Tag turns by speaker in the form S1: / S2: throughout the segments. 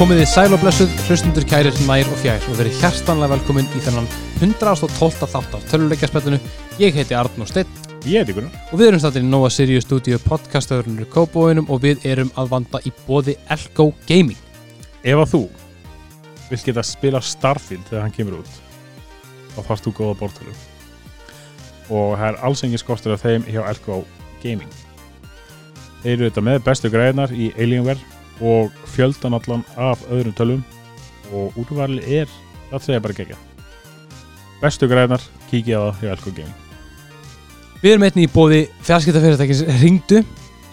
S1: Komið þið sæl og blessuð, hlustundur kærir nær og fjær og verið hjartanlega velkomin í þennan 112. þátt af töluleikjaspellinu. Ég heiti Arnur Steinn
S2: Ég heiti Gunnar.
S1: og við erum stættir í Nova Sirius Studio podcastöðurnir Kóbóinum og við erum að vanda í bóði Elko Gaming.
S2: Ef að þú vilt geta spila Starfield þegar hann kemur út þá þarfst þú góða bortölu og það er alls engin skortur af þeim hjá Elko Gaming Þeir eru þetta með bestu græðinar í Alienware og fjöldan allan af öðrum tölum og úrvarli er það segja bara gegja Bestu græðinar, kíkja á það hjá Elko Gaming
S1: Við erum einnig í bóði fjarskiptafyrirtækins Ringdu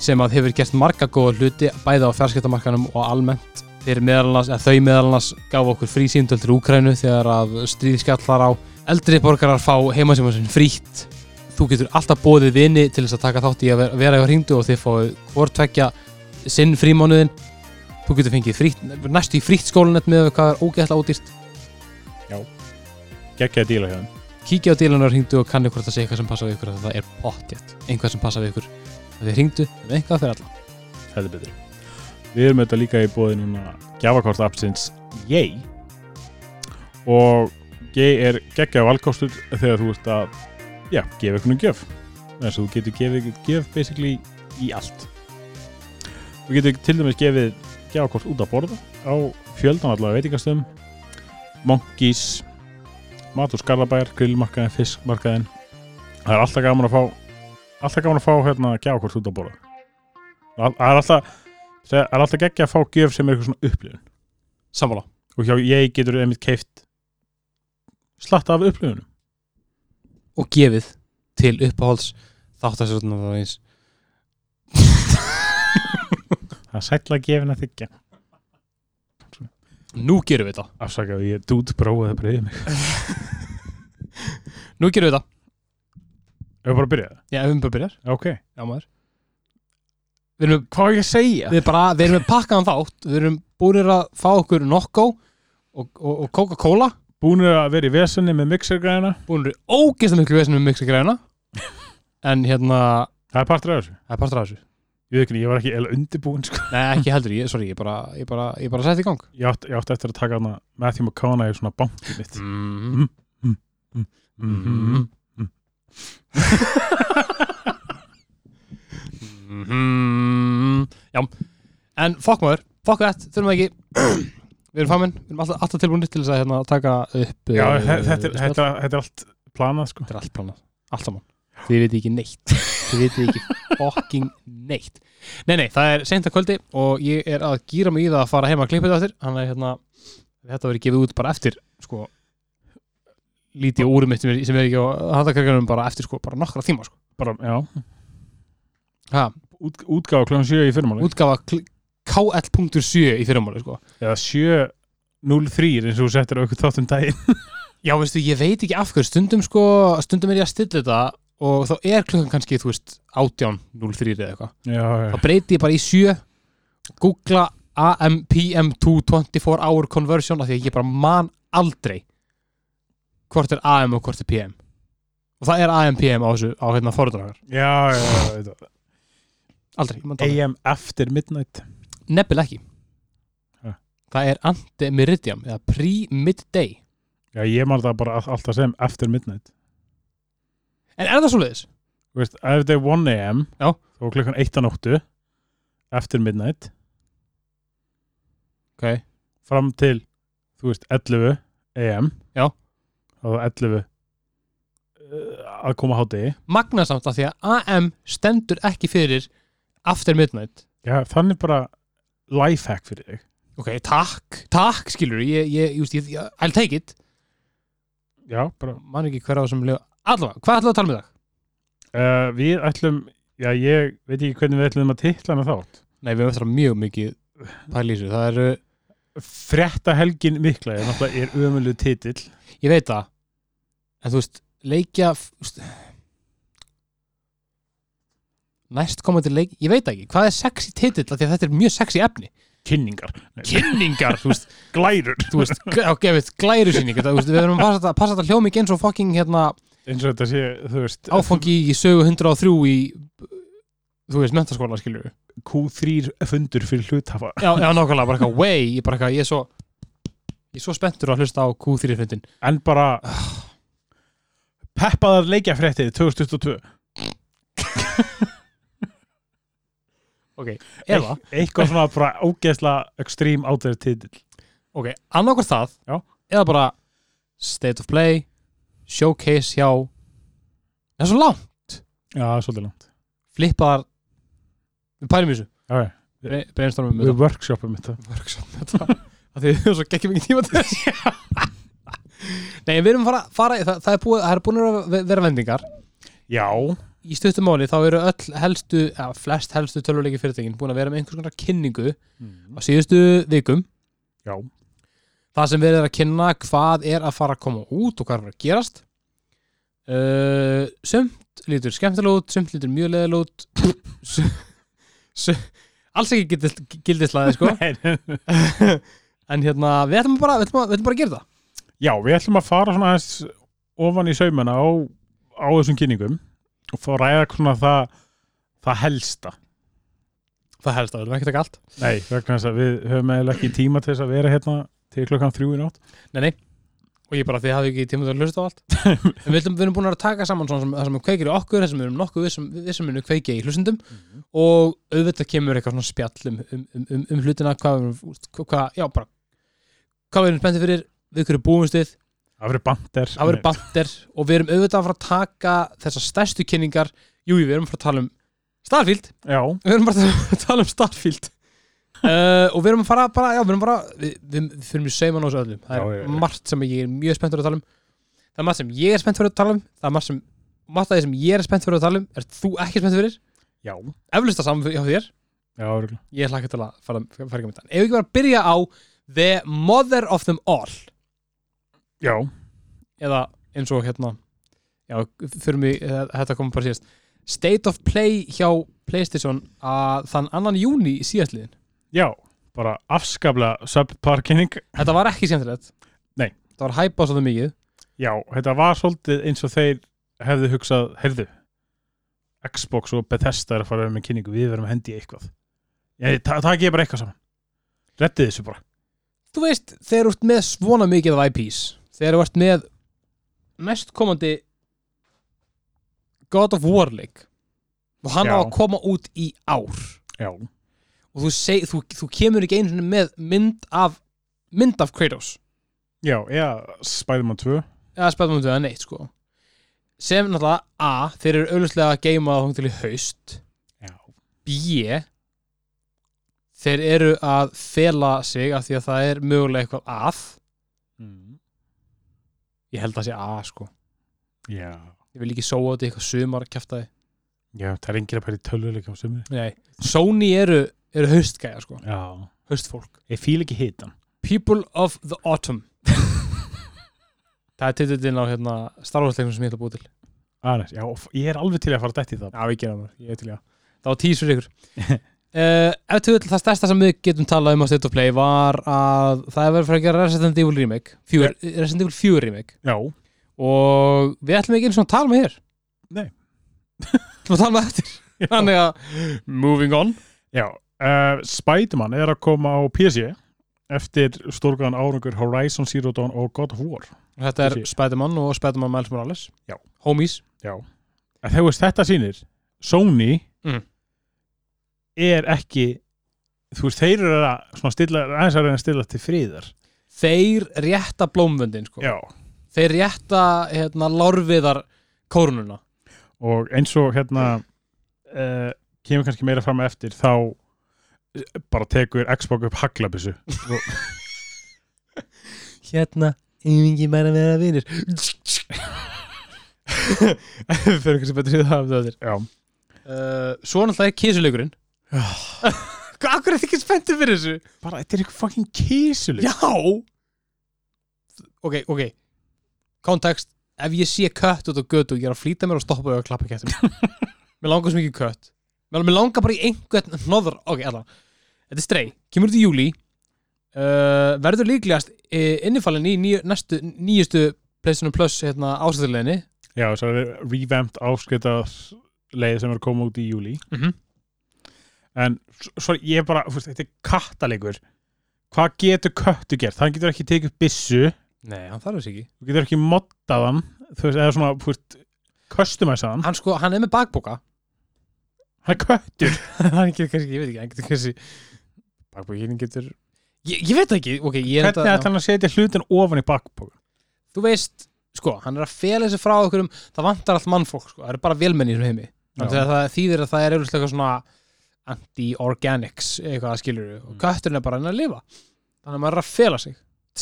S1: sem að hefur gert marga góða hluti bæði á fjarskiptamarkanum og almennt. Þeir meðalans, eða þau meðalans gaf okkur frí símtöld til Úkrænu þegar að stríðskallar á eldri borgarar fá heimasíma sinn frítt. Þú getur alltaf bóðið vini til þess að taka þátt í að vera- vera hjá Ringdu og þið fáið hvort tvekja sinn frímánuðin. Þú getur fengið frítt, næstu í frítt skólanett með hvað er ógeðla ódýrt.
S2: Gegja að díla hjá þeim
S1: Kíkja á dílanar, hringdu og kannu hvort það sé eitthvað sem passa við ykkur af því að það er pottjætt, einhvað sem passa við ykkur Þið hringdu, um eitthvað fyrir alla
S2: heldur betur við erum þetta líka í bóði núna gjafakort appsins Yay og Yay er geggja valkostur þegar þú ert að já, gefa einhvern gjöf þess að þú getur gefið einhvern gjöf basically í allt þú getur til dæmis gefið gjafakort út að borða á fjöldan allavega veitingastöðum monkeys mat og skarlabær, grillmarkaðin, fiskmarkaðin það er alltaf gaman að fá alltaf gaman að fá hérna gjafakort út að borða Það það er alltaf Það er alltaf geggja að fá gjöf sem er eitthvað svona upplifun
S1: Sammála
S2: Og hjá ég getur einmitt keift Slatta af upplifunum
S1: Og gefið til uppáhalds þáttastjórnum það eins
S2: Það er sætla gefin að þykja
S1: Nú gerum við það
S2: Afsakaðu, ég dút bróðið að breyði mig
S1: Nú gerum við það
S2: Ef við bara að byrja það?
S1: Já, ef við bara byrjar
S2: Ok
S1: Já, maður Við erum,
S2: Hvað er ég að segja?
S1: við bara, við erum með pakkaðan þátt Við erum búinir að fá okkur Nokko og, og, og Coca-Cola
S2: Búnir að vera í vesenni með mixergræðina
S1: Búinir ógeðslega miklu vesinu með miksa græna En hérna,
S2: Það er partur af þessu
S1: það er partur af þessu
S2: Ég veit ekki, ég var ekki eða undirbúin sko.
S1: Nei, ekki heldur, ég, sorry, ég bara, ég bara, ég bara sett í gang
S2: ég, átt, ég átt eftir að taka hana Matthew McConaughey svona bankið mitt
S1: mm
S2: mm, mm,
S1: Mhm.
S2: mm.
S1: Mhm. Já, en fokk maður, fokk þetta, þurfum það ekki Við erum famin, við erum alltaf, alltaf tilbúinir til þess að hérna, taka upp
S2: Já,
S1: eh,
S2: þe- þetta, er-
S1: spjall.
S2: þetta, er- þetta er allt planað sko.
S1: Þetta er allt planað, allt saman Þið veitir ekki neitt Þið veitir ekki fucking neitt Nei, nei, það er seint að kvöldi og ég er að gýra mig í það að fara heim að klippa þetta eftir Þannig að hérna, þetta verið gefið út bara eftir sko, lítið úrum mitt sem er, sem er ekki á handakarkanum bara eftir sko, bara nokkra tíma sko.
S2: Bara, já,
S1: ha,
S2: út, útgáfa klón 7 í fyrirmáli
S1: Útgafa kl- KL.7 í fyrirmáli sko.
S2: eða 7.03 eins og þú settir á eitthvað þátt um daginn
S1: Já, veistu, ég veit ekki af hverju stundum sko, stundum er ég að stilla þetta og þá er klukkan kannski, þú veist, 18.03 eða eitthvað
S2: já, já.
S1: þá breyti ég bara í sjö googla AMPM2 24 hour conversion af því að ég bara man aldrei hvort er AM og hvort er PM og það er AMPM á þessu á hérna forðragar,
S2: já, já, já, veit það.
S1: aldrei, ég man það aldrei.
S2: AM eftir midnight
S1: nefnilega ekki
S2: Ha.
S1: það er antemeridium eða pre-midday
S2: já, ég man það bara all- alltaf sem eftir midnight
S1: en er það svo leiðis?
S2: þú veist, ef þetta er 1 AM
S1: Já.
S2: þá er klukkan 1 á nóttu eftir midnight
S1: Okay.
S2: fram til, þú veist, 11 AM
S1: Já.
S2: þá er 11 uh, að koma hátegi
S1: magnasamt af því að AM stendur ekki fyrir after midnight
S2: já, þannig bara lifehack fyrir þig
S1: ok, takk, takk skilur ég, ég, just, ég, ég, I'll take it
S2: já, bara
S1: man ekki hver á þessum lið allavega, hvað ætlaðu að tala um í dag?
S2: uh, við ætlum, já, ég veit ekki hvernig við ætlum að titla hana þátt
S1: Nei, við höfum eftir að mjög mikið pælísu það eru,
S2: Frétta helgin mikla er náttúrulega er ömulegu titill
S1: ég veit það en þú veist, leikja úst, næst komandi leik ég veit það ekki, hvað er sexy titill af því að þetta er mjög sexy efni
S2: Kynningar Nei,
S1: kynningar, þú veist,
S2: Glærur
S1: þú veist á gefið glærusýning, þetta, þú veist, við verðum að passa þetta- passa þetta hljómið eins og fucking hérna
S2: Eins og þetta sé, þú veist
S1: áfangi í sögu 103 í þú veist, mentaskóla skilur við
S2: Q3 fundur fyrir hluthafa
S1: já, já, nákvæmlega, bara eitthvað way ég, bara eitthvað, ég er svo ég er svo spenntur að hlusta á Q3-fundin
S2: en bara peppaðar leikjafréttið 2022
S1: ok, eða,
S2: Eit- eitthvað svona bara ógeðsla extreme out there titill
S1: ok, annarkvært það
S2: Já.
S1: eða bara state of play showcase hjá það er svo langt,
S2: já, svolítið langt
S1: flippaðar við pælum í þessu,
S2: okay.
S1: Bre- brainstormum um
S2: við workshopum þetta
S1: workshop með þetta af því við höfum svo geggjum ekki tíma til þess Nei, en við erum fara, fara það, það er búið, það er búin að vera- vera vendingar
S2: já,
S1: í stuttum máli þá eru öll helstu eða flest helstu töluleiki fyrirtækin búin að vera með einhvers konar kynningu
S2: Mm.
S1: á síðustu vikum
S2: já,
S1: það sem verið er að kynna hvað er að fara að koma út og hvað er að fara að gerast uh, sumt lítur skemmtilega út, sumt lítur mjög leðilega út Sum- sum- alls ekki gildislaði sko
S2: Nei.
S1: en hérna, við ætlum bara, við ætlum bara, við ætlum bara að gera það
S2: já, við ætlum að fara svona aðeins ofan í saumana á, á þessum kynningum og fá að ræða svona það það helsta
S1: Það helst að við erum ekki taka allt
S2: Nei, vegna þess að við höfum eiginlega ekki tíma til þess að vera hérna til klokkan þrjú í nátt
S1: Nei, nei Og ég bara því hafði ekki tíma til að hlusta á allt En við, ætlum, við erum búin að taka saman svona sem, það sem kveikir í okkur Það sem við erum nokkuð um- við sem, við sem erum kveikið í hlustundum Og auðvitað kemur eitthvað svona spjall um, um, um, um, um hlutina Hvað við erum, hvað, já bara Hvað við erum spenntið fyrir Við hverju búumst við
S2: Það verður bandir
S1: Það verður bandir Og við erum auðvitað að fara að taka þessar stærstu kynningar Jú, jú, við erum að fara að tala um Starfield
S2: Já,
S1: Við erum bara að tala um Starfield uh, og við erum að fara bara, já, við erum bara við, við við fyrir mjög seiman á þessu öllum það er
S2: Já, já, já.
S1: margt sem ég er mjög spennt fyrir að tala um það er margt sem ég er spennt fyrir að tala um það er margt sem, margt af því sem ég er spennt fyrir að tala um er þú ekki spennt fyrir,
S2: já,
S1: eflust það saman fyrir- hjá þér
S2: já, örugglega.
S1: ég hlakka til að fara, fara ekki með þann ef við ekki bara að byrja á The Mother of Them All
S2: já,
S1: eða eins og hérna já, fyrir mig, eh, þetta kom bara síðast State of Play hjá Playstation að þann annan júni síðastliðin
S2: já bara afskaplega subparkinning
S1: Þetta var ekki skemmtilegt
S2: Nei.
S1: Það var hæpað svolítið mikið
S2: Já, þetta var svolítið eins og þeir hefðu hugsað, heyrðu Xbox og Bethesda er að fara að vera með kynningu við verðum að hendi í eitthvað Já, það ta ekki bara eitthvað saman Rettið þessu bara
S1: Þú veist, þegar þú ert með svona mikið af IPs Þegar þú ert með næstkomandi God of War leik og hann
S2: Já.
S1: á að koma út í ár
S2: Já,
S1: og þú, seg, þú, þú kemur ekki einu sinni með mynd af mynd af Kratos
S2: já, já, Spiderman 2
S1: eða spæðum við það neitt sko sem náttúrulega A, þeir eru auðvitað að geima það hún til í haust
S2: Já,
S1: B þeir eru að fela sig af því að það er mögulega eitthvað að
S2: mm.
S1: ég held að það sé að sko
S2: já,
S1: ég vil ekki sóa þetta í eitthvað sumar kjaftaði
S2: já, það er engir að pæri töluleika á sumri
S1: nei, Sony eru, eru haustgæja sko
S2: Já,
S1: haustfólk,
S2: ég fíl ekki hitan
S1: People of the Autumn það er titillinn á hérna starfhaldsleikum sem ég ætla að búi til
S2: Aðeins, já, og f- ég er alveg til að fara dætt í það
S1: já, við gerum það, ég er til já það var tísur ykkur Uh, ef til vill það stærsta sem við getum talað um á State of Play var að það er verið fyrir að gera Resident Evil remake Fjör, Resident Evil 4 remake
S2: Já,
S1: og við ætlum ekki eins og að tala með hér
S2: Nei.
S1: ætlum að tala með eftir þannig að moving on
S2: já uh, Spiderman er að koma á PC eftir stórgan árangur Horizon Zero Dawn og God of War
S1: þetta er
S2: Þessi-
S1: Spiderman og Spiderman Miles Morales
S2: Já.
S1: homies
S2: Já En þegar veist þetta sýnir Sony
S1: Mm.
S2: er ekki þú veist, þeir eru að svona stilla, aðeins að reyna að stilla til friðar
S1: þeir rétta blómvöndin sko.
S2: Já
S1: þeir rétta hérna, lárviðar kórnuna
S2: og eins og hérna uh, kemur kannski meira fram eftir þá eh, bara tekur Xbox upp haglabissu
S1: hérna yfingi bara að vera vinir við fyrir kannski betur í það um það
S2: Já
S1: uh, svo náttúrulega er kísuleikurinn Ah. hvað akkur er þið ekki spenntið fyrir þessu
S2: Bara, þetta er eitthvað fucking kísuleg
S1: Já Ok, ok Kontekst, ef ég sé kött út á götu og ég er að flýta mér og stoppa og klappa kettum Mér langar svo mikið í kött Mér mér langar bara í einhvern hnoður Ok, allan Þetta er strei, kemur út í júli uh, Verður líklegast uh, innifalinn í nýju, næstu, nýjustu Playstation Plus hérna, ásættileginni
S2: Já, þess að það er revamped áskriftað leið sem er að koma út í júli
S1: Mhm.
S2: en s- sorry, ég er bara, fyrst, þetta er kattalegur hvað getur köttu gert? hann getur ekki tekið byssu
S1: Nei, hann þarf þess ekki
S2: þú getur ekki moddað hann þú veist, eða svona, þú veist, customize hann
S1: Hann sko, hann er með bakboka
S2: hann er köttur
S1: Hann getur kannski, ég veit ekki, hann getur kannski Bakbókin getur Ég, ég veit það ekki, ok, ég er
S2: hvernig
S1: enda-
S2: ætlar hann að setja hlutin ofan í bakpoka
S1: Þú veist, sko, hann er að fela þessi frá okkur um Það vantar allt mannfólk, sko, það eru bara vélmenni í þessum heimi Þannig að það þýðir að það er auðvitað eitthvað svona anti-organics eitthvað að skilur og
S2: Mm.
S1: kötturinn er bara enn að lifa þannig að maður er að fela sig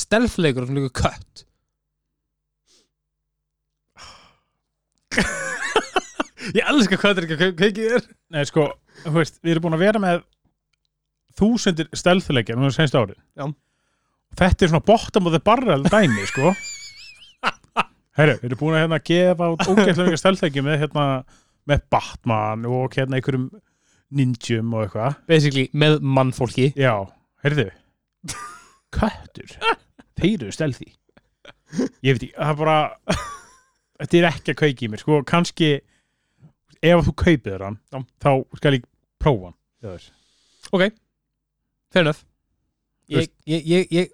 S1: stelfleikur er svona líka kött ég elska köttur ekki hvað ekki er
S2: Nei, sko, þú veist, við erum búin að vera með þúsundir stelðuleikja núna senst árið.
S1: Já.
S2: Þetta er svona bottom of the barrel dæmi, sko. Herru, við erum búin að hérna gefa út ógeðslega mikið stelðuleikja með hérna, með Batman og hérna einhverjum ninjum og eitthvað.
S1: basically með mannfólki
S2: Já, herðu, köttur, þeir eru stelði. Ég veit ekki, það er bara, þetta er ekki að kveiki í mér, sko, kannski, ef þú kaupir hann, þá skal ég prófa hann. Já, þess.
S1: fair enough ég, ég, ég, ég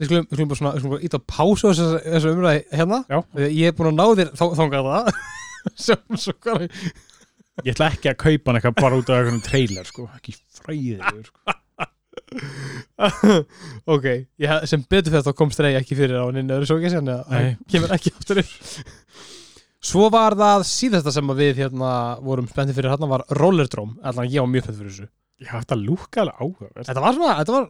S1: við skulum, við skulum bara svona, við skulum bara ít að pása þessu, þessu umræði hérna
S2: Já.
S1: Því að ég er búin að ná þér þá, þangað það sem svo hvað
S2: Ég ætla ekki að kaupa hann eitthvað bara út af einhvern trailer sko, ekki fræðilegur sko.
S1: ok, ég, sem betur fyrir þá kom streið ekki fyrir á nynni öðru sókis en það
S2: Nei.
S1: kemur ekki aftur upp svo var það síðasta sem að við hérna vorum spenntið fyrir hérna var rollerdróm, allan ég var mjög spennt fyrir þessu
S2: Já, þetta lúkka alveg áhugaverð.
S1: þetta var svona, þetta var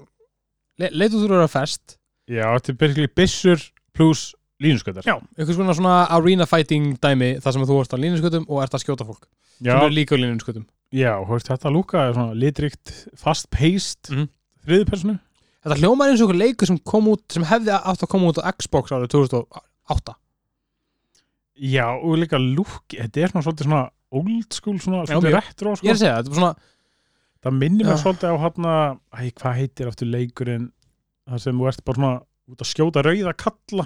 S1: le, leit út úr að vera fest
S2: Já, þetta er basically byssur pluss línuskötar.
S1: já, einhvers konar svona arena fighting dæmi þar sem þú ert á línuskötum og ert að skjóta fólk
S2: já,
S1: sem eru líka á línuskötum
S2: já veist, þetta lúkka er svona litrikt, fast-paced,
S1: Mhm.
S2: þriði personu.
S1: þetta hljómar eins og einhver leikur sem kom út sem hefði átt að koma út á Xbox árið 2008
S2: Já, og líka lúk, þetta er svona svolítið svona old school, svona
S1: Já,
S2: svolítið
S1: mjög. ég
S2: retro
S1: er
S2: sko.
S1: að segja, þetta var svona
S2: Það minnir mér
S1: Já.
S2: svolítið á hann að, æ, hvað heitir aftur leikurinn, það sem þú ert bara svona út að skjóta rauða kalla.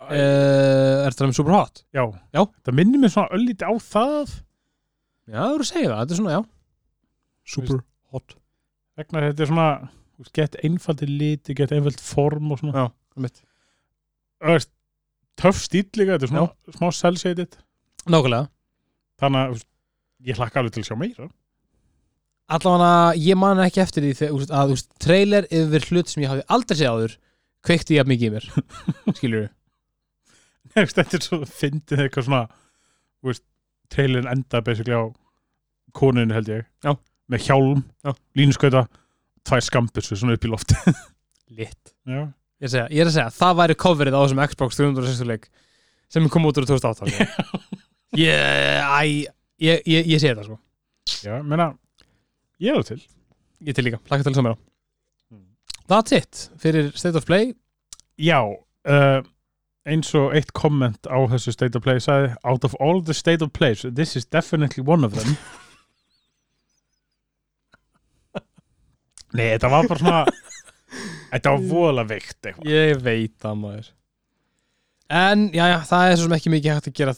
S2: Æ,
S1: uh, er þetta með super hot
S2: já,
S1: já.
S2: það minnir mér svona öllítið á það.
S1: já, þú eru að segja það, þetta er svona, já
S2: Super
S1: hot
S2: vegna þetta er svona þú veist, gett einfaldi liti, gett einfald form og svona
S1: Já, einmitt.
S2: Þú veist, töff stíl líka, þetta er svona smá selsetit
S1: Nákvæmlega
S2: þannig að þú veist, ég hlakka alveg til að sjá meira
S1: Allavega, ég man ekki eftir því þegar, úst, að úst, trailer yfir hlut sem ég hafi aldrei séð áður kveikti jafn mikið í mér skilur við
S2: Þú veist, þetta er svo fyndið eitthvað svona þú veist, trailerin enda basically á konunni held ég
S1: Já.
S2: með hjálm,
S1: Já.
S2: línskauta tvær skambissu svona upp í loft
S1: Litt
S2: Já.
S1: Ég er að segja, ég er að segja það væri coverið á þessum Xbox 360 leik sem kom út úr 2008 sko. ég, æ, ég, ég, ég sé þetta sko
S2: Já, ég meina, ég er það til
S1: Ég til líka, lakka til saman á Hmm.
S2: Mm.
S1: That's it fyrir State of Play
S2: Já, uh, eins og eitt komment á þessu State of Play sagði Out of all the State of Plays, this is definitely one of them Nei, þetta var bara svona Þetta var vola veikt eitthvað
S1: Ég veit það maður En, já, já, það er svo sem ekki mikið hægt að gera,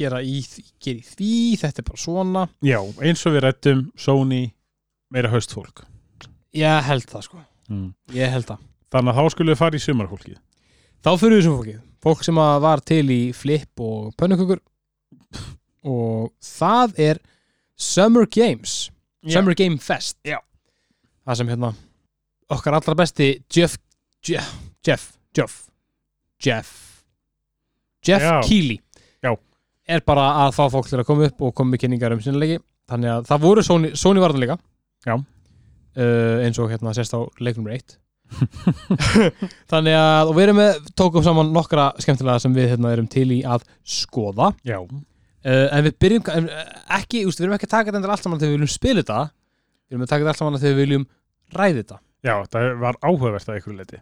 S1: gera í, því- gera í því Þetta er bara svona
S2: Já, eins og við rættum Sony meira haustfólk
S1: Ég held það, sko
S2: mm.
S1: Ég held það
S2: Þannig að þá skulle við fara í sumarfólkið
S1: Þá fyrir við sem fólkið Fólk sem að var til í flip og pönnukökur Og það er Summer Games Summer Game Fest
S2: Já.
S1: Það sem hérna Okkar allra besti Jeff Jeff Jeff Jeff Jeff, Jeff
S2: Já.
S1: Keighley
S2: Já.
S1: Er bara að fá fólk til að koma upp og koma með kynningar um sinnileiki Þannig að það voru Sony, Sony varðan líka
S2: Já.
S1: uh, Eins og hérna sérst á leiknum reitt Þannig að og við erum með tókum saman nokkra skemmtilega sem við hérna erum til í að skoða
S2: Já,
S1: uh, en við byrjum en, eh, ekki, úst, við erum ekki að taka þetta endur allt saman þegar við viljum spila þetta við erum að taka þetta allt saman þegar við viljum ræði þetta
S2: Já það var áhugavert að ykkur leiti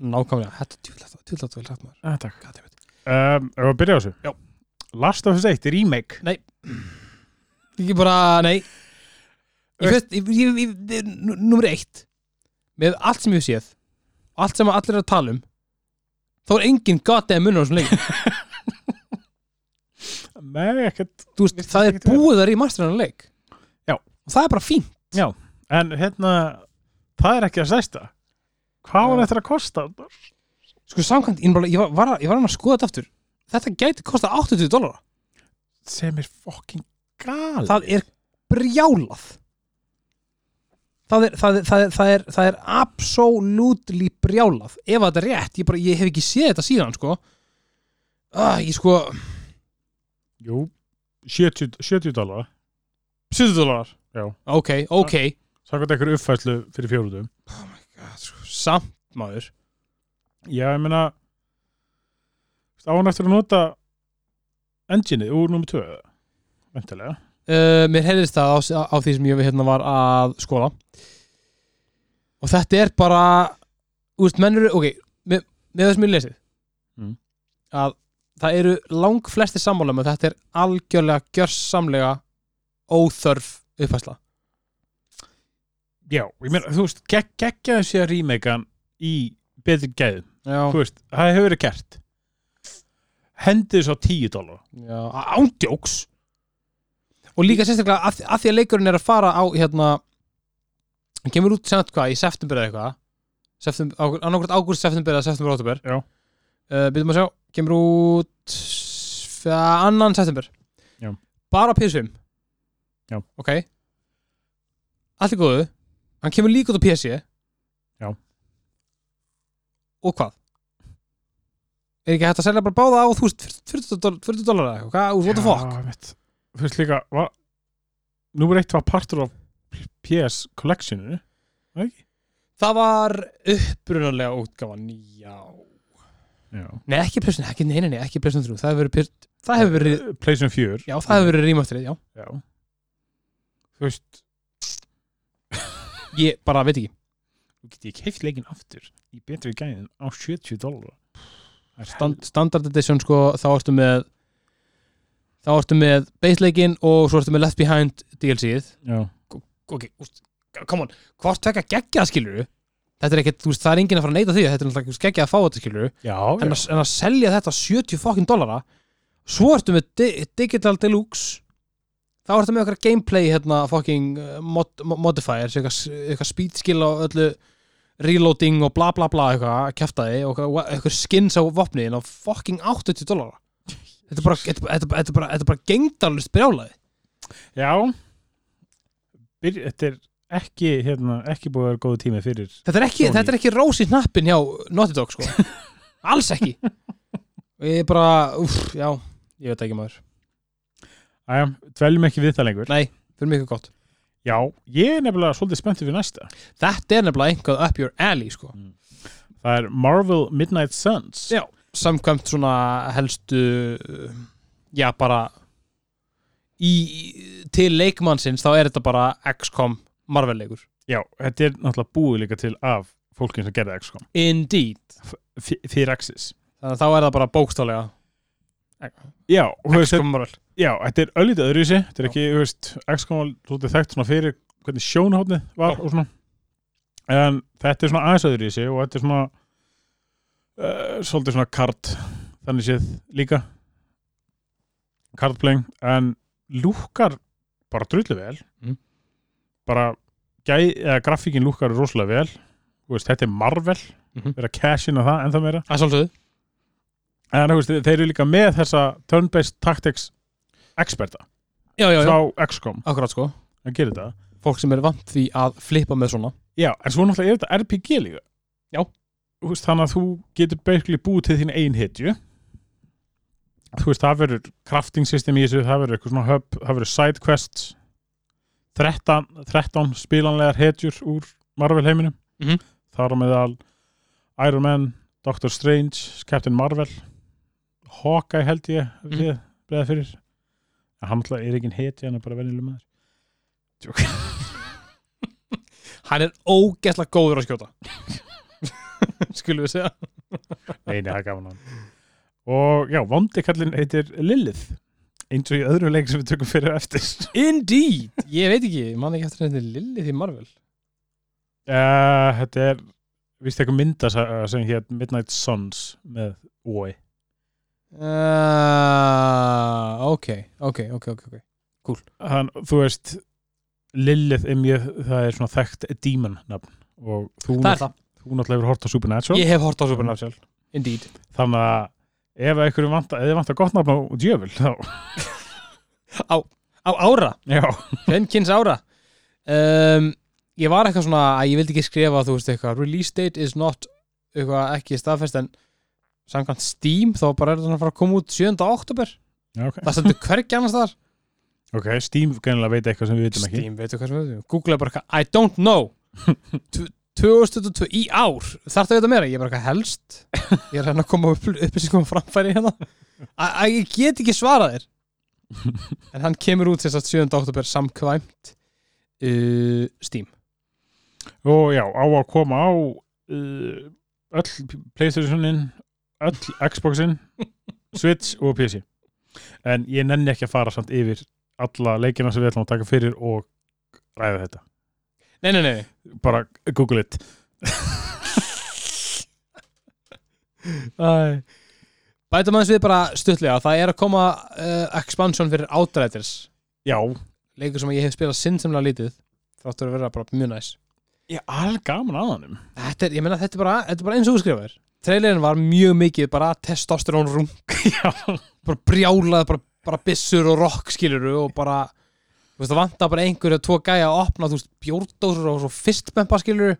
S1: nákvæmlega, þetta er tjúlega tjúlega tjúlega hrætt maður
S2: ah, Takk
S1: God damn it.
S2: um, Ef að byrja á þessu
S1: Já.
S2: Last of Us 1, remake
S1: ekki bara, nei ég veist, ég, ég, ég, ég, nú- númer eitt með allt sem ég hef séð allt sem allir er að tala um þá er engin goddamn munur á þessum leik
S2: Nei, ekkert
S1: Þú veist,
S2: Virtist
S1: það er
S2: ekkert vera.
S1: búið að remasterina um leik og það er bara fín
S2: En hérna, það er ekki að sæsta Hvað var
S1: Já.
S2: þetta að kosta?
S1: sko samkvæmt, ég, bara, ég, var, var, að- ég var hann að skoða þetta aftur þetta gæti kosta 80 dólar
S2: Sem er fucking gal
S1: það er brjálað það er, það er, það er, það er, það er absolutely brjálað ef þetta er rétt, ég, bara, ég hef ekki séð þetta síðan sko ah, ég sko
S2: Jú, 70, 70 dólar
S1: 70 dólar
S2: Já.
S1: ok, ok
S2: Sækvæmt einhverju uppfæslu fyrir fjóruðum
S1: Ah, sko, samt maður
S2: Já, ég meina Á hann eftir að nota engine úr nummer 2 Ventilega
S1: uh, mér heyrðist það á, á því sem ég hérna var að skoða og þetta er bara úrst menn eru, ok, með, með þessum ég lesið
S2: Mm.
S1: að það eru lang flesti sammála með þetta er algjörlega gjörsamlega óþörf uppfæsla
S2: Já, ég meina, þú veist, gegg, geggjaði sé að remakean í betri gæðum
S1: já,
S2: Þú veist, það hefur verið gert Hendið þess á 10 dólar
S1: já ándjóks og líka sérstaklega að, að því að leikurinn er að fara á hérna, hann kemur út sem hvað, í september eða eitthvað september, annarkvært ágúst, september eða september, óttubur
S2: Já.
S1: uh, byrjum að sjá, kemur út s- f- annan september
S2: Já.
S1: bara PS5
S2: Já.
S1: ok allt er góðu, hann kemur líka út á PS
S2: Já.
S1: og hvað er ekki hægt að selja bara báða á þú veist 40 doll- 40 dólar eða eitthvað, hvað, what the fuck
S2: mitt. Þú veist líka, var Númer eitt var partur af PS Collectioninu
S1: það var upprunalega útgáfan já,
S2: Já
S1: nei ekki plessun ekki, nei, nei, nei, ekki plessun 3, það hefur verið PS- það hefur verið,
S2: PlayStation 4
S1: já, það hefur verið rýmastrið, já,
S2: Já Þú veist,
S1: ég bara veit ekki
S2: þú get ég keift leikin aftur í betri gæðum á 70 dólar Það er
S1: Stand, standard edition sko, þá ertu með þá ertu með baseleikin og svo ertu með Left Behind DLC-ið
S2: Já
S1: ok, úst, come on, hvort tvekka geggjað skilur þetta er ekkert, þú veist, það er enginn að fara að neyta því þetta er náttúrulega geggjað að fá þetta skilur
S2: Já,
S1: en, að- en að selja þetta á 70 fokkin dollara svo ertu með di Digital Deluxe þá ertu með okkar gameplay hérna fokkin uh, mod mo- modifiers eitthvað, s- eitthvað speed skill á öllu reloading og bla bla bla eitthvað að kæfta þig og eitthvað- eitthvað skins á vopniðin á fokkin 80 dollara þetta er bara, þetta, þetta, þetta, er bara, þetta er bara gengdarlust brjálaði
S2: Já Byr, Þetta er ekki, hérna, ekki búið að vera góðu tími fyrir
S1: þetta er ekki,
S2: Sony.
S1: þetta er ekki rósi hnappin hjá Naughty Dog sko alls ekki og ég er bara, uff, já ég veit ekki maður,
S2: Æja, dveljum ekki við það lengur
S1: nei, fyrir mig eitthvað gott
S2: Já, ég er nefnilega svolítið spenntið fyrir næsta
S1: þetta er nefnilega einhvað up your alley sko.
S2: Það er Marvel Midnight Suns
S1: Já. samkvæmt svona helstu uh, já bara í, í- til leikmannsins þá er þetta bara XCOM Marvel leikur
S2: Já, þetta er náttúrulega búið líka til af fólkinn sem gerði XCOM
S1: indeed,
S2: f- fyrir Axis
S1: þannig að þá er það bara bókstálega
S2: Já, og þú veist,
S1: XCOM Marvel
S2: Já, þetta er öllítið öðruvísi, þetta er ekki, þú veist, XCOM var svolítið þekkt svona fyrir hvernig sjónhóttnið var
S1: Já.
S2: og svona, en þetta er svona aðeins öðruvísi og þetta er svona, uh, svolítið svona kart, þannig séð líka, kartplaying, en lúkar bara drullu vel,
S1: Mm.
S2: bara gæ, eða, grafíkin lúkar rosalega vel, þú veist, þetta er Marvel,
S1: Mhm.
S2: vera cash inn á það ennþá meira,
S1: það er svolítið,
S2: en þú veist, þeir eru líka með þessa turn-based tactics experta
S1: já já já,
S2: frá XCOM
S1: akkurat sko
S2: að gera þetta
S1: fólk sem er vant því að flippa með svona
S2: Já, en svo náttúrulega er þetta RPG líka
S1: Já.
S2: Þú veist, Þannig að þú getur basically búið til þín ein hitju Þú veist, það verður crafting system í þessu, það verður eitthvað svona hub, það verður side quests 13, 13 spilanlegar hetjur úr Marvel heiminum
S1: Mhm.
S2: Þar á meðal Iron Man, Doctor Strange, Captain Marvel Hawkeye held ég mm
S1: Mhm.
S2: -hmm. breða fyrir en hann náttúrulega er ekki hetja, hann er bara venjuleg maður
S1: hann er ógeðslega góður að skjóta skulum við segja
S2: Nei, nei, það er gaman hann Og já, vondikallin heitir Lilith eins og í öðru leik sem við tökum fyrir eftir
S1: Indeed, ég veit ekki, ég man ekki eftir henni Lilith í Marvel
S2: uh, Þetta er víst eitthvað mynda sem hér Midnight Suns með OI
S1: uh, Ok, ok, ok, ok, ok
S2: Þann, Þú veist Lilith Imjöð, það er svona þekkt demon nafn og þú,
S1: það er það,
S2: þú náttúrulega hefur hort á Supernatural
S1: ég hef hort á Supernatural
S2: Supernatural
S1: Indeed,
S2: þannig að ef einhverjum vantar, ef þið vantar gott nafn á djöful þá,
S1: á ára
S2: já,
S1: Femkins ára um, Ég var eitthvað svona að ég vildi ekki skrifa þú veist eitthvað, release date is not eitthvað ekki staðfest en samkvæmt Steam þá bara er það að fara að koma út 7. oktober,
S2: já ok,
S1: það stendur hvergi annars þar
S2: ok, Steam greinilega veit eitthvað sem við vitum ekki
S1: Steam, veitu hvað sem við veitum Google er bara eitthvað, I don't know Tv- 2022 í ár þarf það að vita meira, ég er bara eitthvað helst ég er að reyna að koma upp, upplýsingum á framfæri hérna að að ég get ekki svarað þér en hann kemur út þess að 7. oktober samkvæmt uh, Steam
S2: og já, á að koma á uh, öll Playstationin öll Xboxin Switch og PC en ég nenni ekki að fara samt yfir alla leikina sem við ætlum að taka fyrir og ræða þetta,
S1: Nei, nei, nei,
S2: bara google it
S1: nei. Bætum aðeins við bara stuttlega Það er að koma uh, expansion fyrir Outriders
S2: já,
S1: Leikur sem ég hef spilað sinnsemlega lítið Þáttur að vera bara mjög næs
S2: ég er alveg gaman að honum
S1: Þetta er, ég meina, þetta er bara, þetta er bara eins og þú skrifaðir Trailerin var mjög mikið bara testosterón rung
S2: já,
S1: Bara brjálað, bara, bara byssur og rock skiluru Og bara, þú veist, það vantar bara einhverju tvo gæja að opna Þú veist, bjórdósur og svo fistbempa skiluru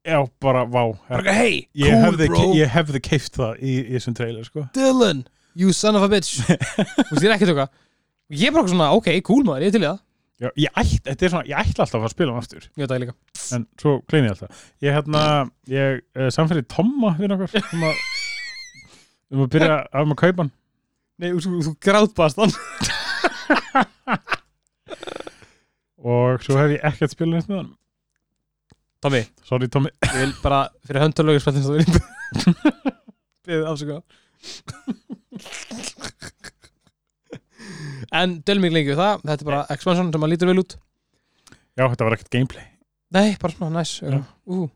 S2: já, bara, vá
S1: Bara, hey,
S2: ég,
S1: cool
S2: hefði,
S1: bro
S2: ég hefði keift það í, í þessum trailer sko.
S1: Dylan, you son of a bitch Þú veist, ég er ekki tóka Ég er bara svona, ok, cool maður, ég er til í það
S2: já, ég, ætl, þetta er svona, ég ætla alltaf að fara að spila um aftur
S1: Ég veit það líka
S2: en svo klein ég alltaf ég hérna, ég uh, samfélagi Tomma við nokkar um að, um að byrja af með kaupan
S1: Nei, þú, þú grátbast hann
S2: og svo hef ég ekkert spilað neitt með hann
S1: Tommy,
S2: sorry Tommi,
S1: ég vil bara fyrir höndalögur spættins að vera Beðið afsöka En dölum mig lengi við það Þetta er bara expansion sem maður lítur vel út
S2: já þetta var ekkert gameplay
S1: Nei, bara svona, næs
S2: Já.
S1: nice. uh.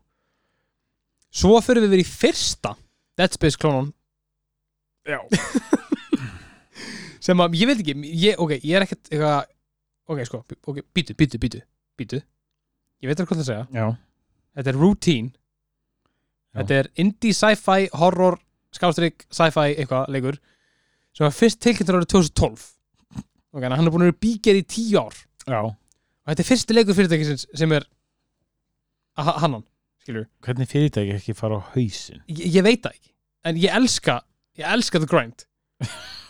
S1: Svo fyrir við verið í fyrsta Dead Space klónan
S2: já,
S1: sem að, ég veit ekki, ég, ok, ég er ekkert eitthvað, ok, sko, ok, býtu, býtu, býtu býtu, ég veit ekki hvað það að segja
S2: já,
S1: Þetta er Routine
S2: Já.
S1: Þetta er indie sci-fi horror skástrík sci-fi eitthvað leikur sem var fyrst tilkynntur árið 2012 ok, en hann er búin að vera bíger í tíu ár og
S2: já.
S1: þetta er fyrsti leikur fyrirtækisins sem er að ha- hannan, skilur
S2: hvernig fyrirtæki ekki fara á hausin
S1: ég, ég veit það ekki, en ég elska ég elska the grind,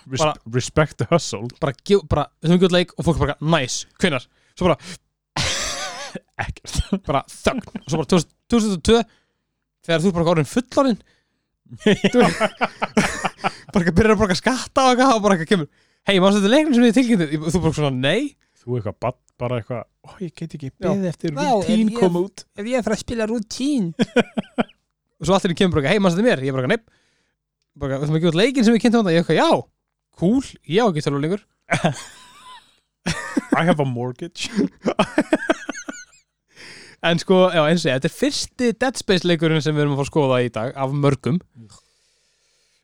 S2: Res
S1: Bara-
S2: respect the hustle
S1: bara, gef, bara við höfum gjöld leik og fólk bara, nice, hvenar svo bara,
S2: ekkert
S1: bara þögn og svo bara 2000 2002 þegar þú er bara orðin fullorinn þú bara ekki byrjar að borga skatta og eitthvað og bara ekki kemur hei, maður þetta leiknum sem ég tilkynnti þú bara svona nei
S2: þú eitthvað bad, bara eitthvað, ó ég get ekki
S1: Já.
S2: beðið eftir
S1: Vá, en
S2: rutín
S1: ég-
S2: koma út
S1: ef ég er fyrir að spila rutín og svo allir kemur bara eitthvað, hei, maður þetta mér ég bara neip bara, þú maður ekki út leikinn sem ég kynnti á þetta ég eitthvað, já, cool, ég á ekki tölvu lengur
S2: I have a mortgage
S1: en sko, já, eins og ég, þetta er fyrsti Dead Space leikurinn sem við erum að fá að skoða í dag af mörgum,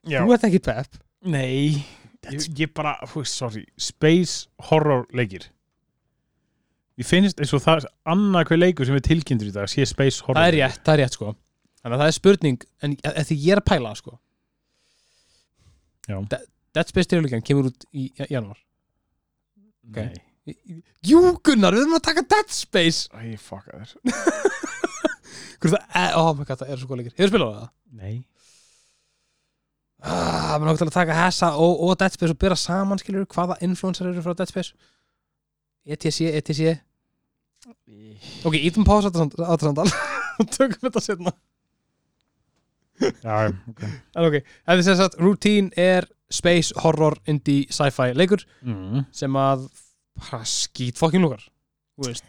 S2: já,
S1: þú ert ekki pepp
S2: Nei, ég, ég bara, þú veist, sorry, space horror leikir. Ég finnst eins og það annað hver leikur sem er tilkynntur í dag sé space horror.
S1: það er rétt, það er rétt sko þannig að það er spurning, en að- að því ég er að pæla sko
S2: Já.
S1: De- Dead Space styrjuleikann kemur út í ja- janúar
S2: Okay. Nei,
S1: Í- í- Jú Gunnar, við erum að taka Dead Space
S2: Æ, ég fucka þér.
S1: Hvernig það, eh, oh my god, það er svo góð leikir Hefur spilað á það?
S2: Nei.
S1: Ah, maður langar til að taka Hessa og, og Dead Space og byrja saman skilur hvaða influencer eru frá Dead Space E ETC, ETC Ok, ítum pása þetta samtal og tökum þetta setna
S2: Já, ok.
S1: En ok, þetta er sem sagt, Routine er space, horror, indie, sci-fi leikur
S2: Mm.
S1: sem að bara skýt fokkin lúkar þú veist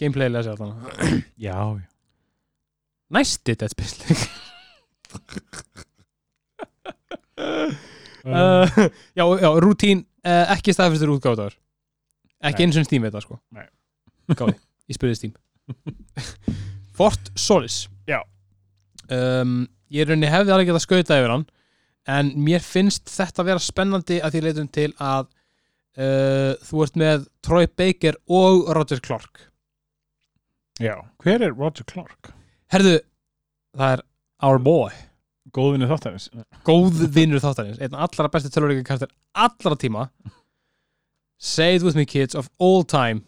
S1: gameplaylega sér þannig
S2: Já, já.
S1: næsti Dead Space leik
S2: Uh,
S1: uh, já, já, rútín uh, ekki staðfyrstur útgáðar
S2: Nei.
S1: ekki eins og Steam veit það sko
S2: Nei.
S1: gáði, ég spurði Steam Fort Solis
S2: Já.
S1: um, ég í rauninni hefði alveg getað skauta yfir hann en mér finnst þetta vera spennandi að því leitum til að uh, þú ert með Troy Baker og Roger Clark
S2: Já, hver er Roger Clark?
S1: herðu, það er Our Boy
S2: Góðvinni þáttarins
S1: góð vinnur þáttarins, einn allra besti tölvuleika karakter allra tíma Say it with me kids of all time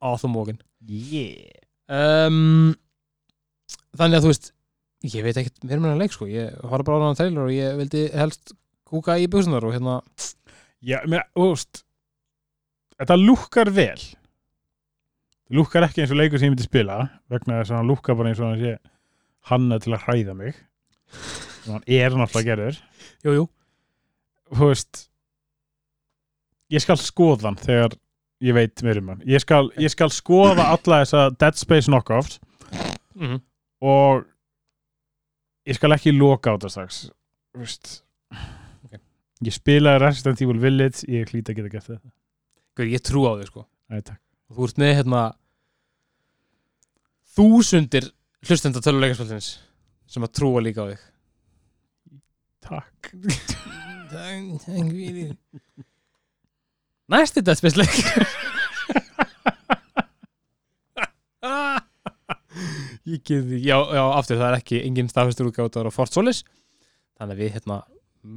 S1: Arthur Morgan
S2: Yeah
S1: um, þannig að þú veist ég veit ekkert mér með hann leik sko ég horfði bara á hann trailer og ég vildi helst kúka í busunar og hérna
S2: Já, mér, úst Þetta lúkkar vel Það lúkkar ekki eins og leikur sem ég myndi spila vegna þess að hann lúkkar bara eins og hann sé hanna til að hræða mig og hann er náttúrulega gerður
S1: jú, jú.
S2: Þú veist Ég skal skoða hann þegar ég veit mér um hann Ég skal, ég skal skoða alla þessa Dead Space knockoffs
S1: Mm -hmm.
S2: og ég skal ekki loka á þetta strax þú veist
S1: Ok.
S2: ég spilaði Resident Evil Village ég hlýta að geta gert þetta
S1: ég trú á þig sko
S2: Æ, takk.
S1: og þú ert með hérna þúsundir hlustenda töluleikarsvöldins sem að trúa líka á þig
S2: takk
S1: næsti dætspisleik ég geði já, já, aftur það er ekki engin staðfestur útgáður á Fort Solis þannig að við hérna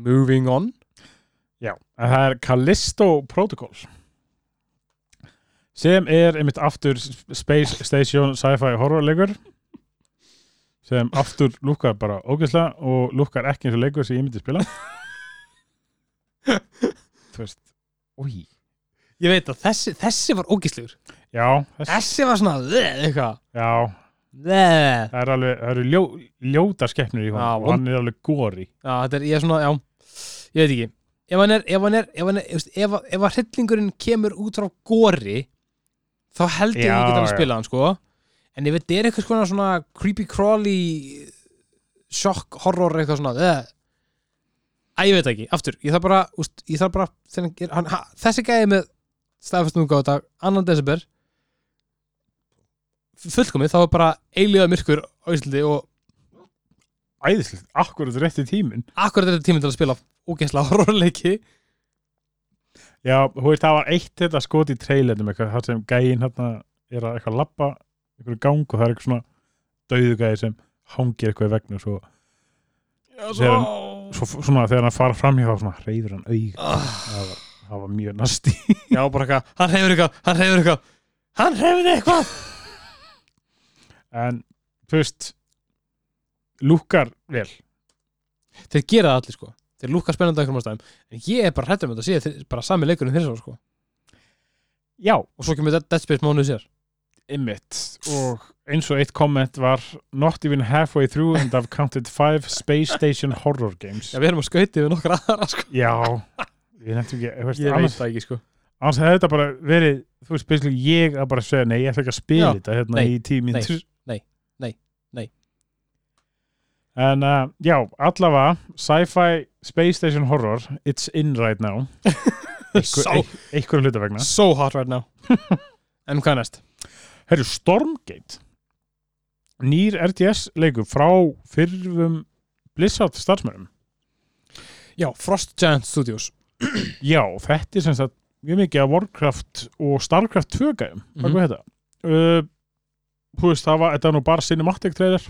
S1: moving on
S2: já, en það er Callisto Protocol sem er einmitt aftur Space Station sci-fi horrorleikur sem aftur lúkkar bara ógeðslega og lúkkar ekki eins og leikur sem ég myndi spila þú veist Új.
S1: ég veit að þessi, þessi var ógíslegur
S2: já, þess,
S1: þessi var svona bleh, eitthvað
S2: já
S1: bleh.
S2: Það er alveg, það eru ljó, ljóta skeppnur í honum
S1: Já,
S2: og hann er alveg góri.
S1: Já, þetta er, ég er svona, já, ég veit ekki Ef hann er, ef hann er, ef hann er, ef, ef, ef að hryllingurinn kemur út frá gori þá heldur ég
S2: Já,
S1: ekki að
S2: já.
S1: spila hann, sko En ef þetta er eitthvað svona, svona creepy crawly sjokk, horror, eitthvað svona eða Æ, ég veit ekki, aftur, ég þarf bara, úst, ég þarf bara þegar, hann- hann, ha, þessi gæði með staðfestum gáta, annan desember fullkomið, þá er bara eilíða myrkur á Íslandi og
S2: Æðislegt, akkurat rétt í tíminn.
S1: akkurat er þetta tíminn til að spila ógeðslega horrorleiki
S2: Já, hú veist, það var eitt þetta skot í trailernum eitthvað, þar sem gæin hérna er að eitthvað labba, eitthvað gang og það er eitthvað svona dauðu gæi sem hangir eitthvað í vegna og svo,
S1: Já,
S2: Sér svo svona þegar hann fara fram hjá svona reyður hann auga.
S1: Ah,
S2: Það var, það var mjög nasti.
S1: Já, bara eitthvað, hann reyfur eitthvað, hann reyfur eitthvað Hann reyfur eitthvað
S2: En, þú veist, lúkar vel.
S1: Þeir gera það allir sko, þeir lúka spennandi eitthvað ástæðum En ég er bara hrættur með þetta síðan, þeir bara sami leikurinn þeir svo sko
S2: Já,
S1: Og svo kemur Dead- Dead Space mánuð sér
S2: Emmitt og eins og eitt komment var Not even halfway through and I've counted five space station horror games
S1: Já, við erum að skauti við nokkra aðra sko
S2: Já, við nefntum ekki veist,
S1: Ég veit
S2: annars,
S1: það ekki sko
S2: annars hefði þetta bara verið þú veist, basically ég að bara segja nei, ég ætla ekki að spila
S1: Já,
S2: þetta hérna
S1: nei,
S2: í tíu mínútur
S1: nei, nei, nei.
S2: En uh, já, allavega sci-fi space station horror it's in right now
S1: So-
S2: einhver, einhver hluta vegna
S1: So hot right now En hvað er næst?
S2: Herru, Stormgate nýr RTS leikur frá fyrrum Blizzard starfsmörum
S1: Já, Frost Giant Studios
S2: Já, þetta er sem sagt mjög mikið að Warcraft og Starcraft 2 gæðum, mm
S1: Mhm.
S2: -hmm. þetta uh, Þú veist, það var, þetta var nú bara cinematic trailer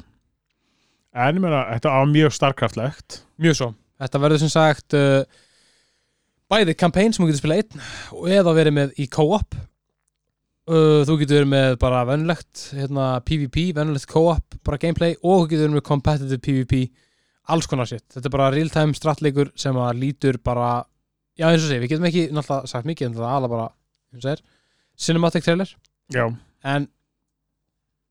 S2: en ég meina, þetta var mjög Starcraftlegt
S1: Mjög svo, þetta verður sem sagt uh, bæði kampæn sem þú getur spilað einn og eða verið með í co-op uh, þú getur verið með bara venulegt hérna, PvP, venulegt co-op bara gameplay og þú getur verið með competitive PvP alls konar sitt, þetta er bara real-time stratleikur sem að lítur bara já eins og sé, við getum ekki náttúrulega sagt mikið en það er alveg bara, eins og er cinematic trailer,
S2: Já,
S1: en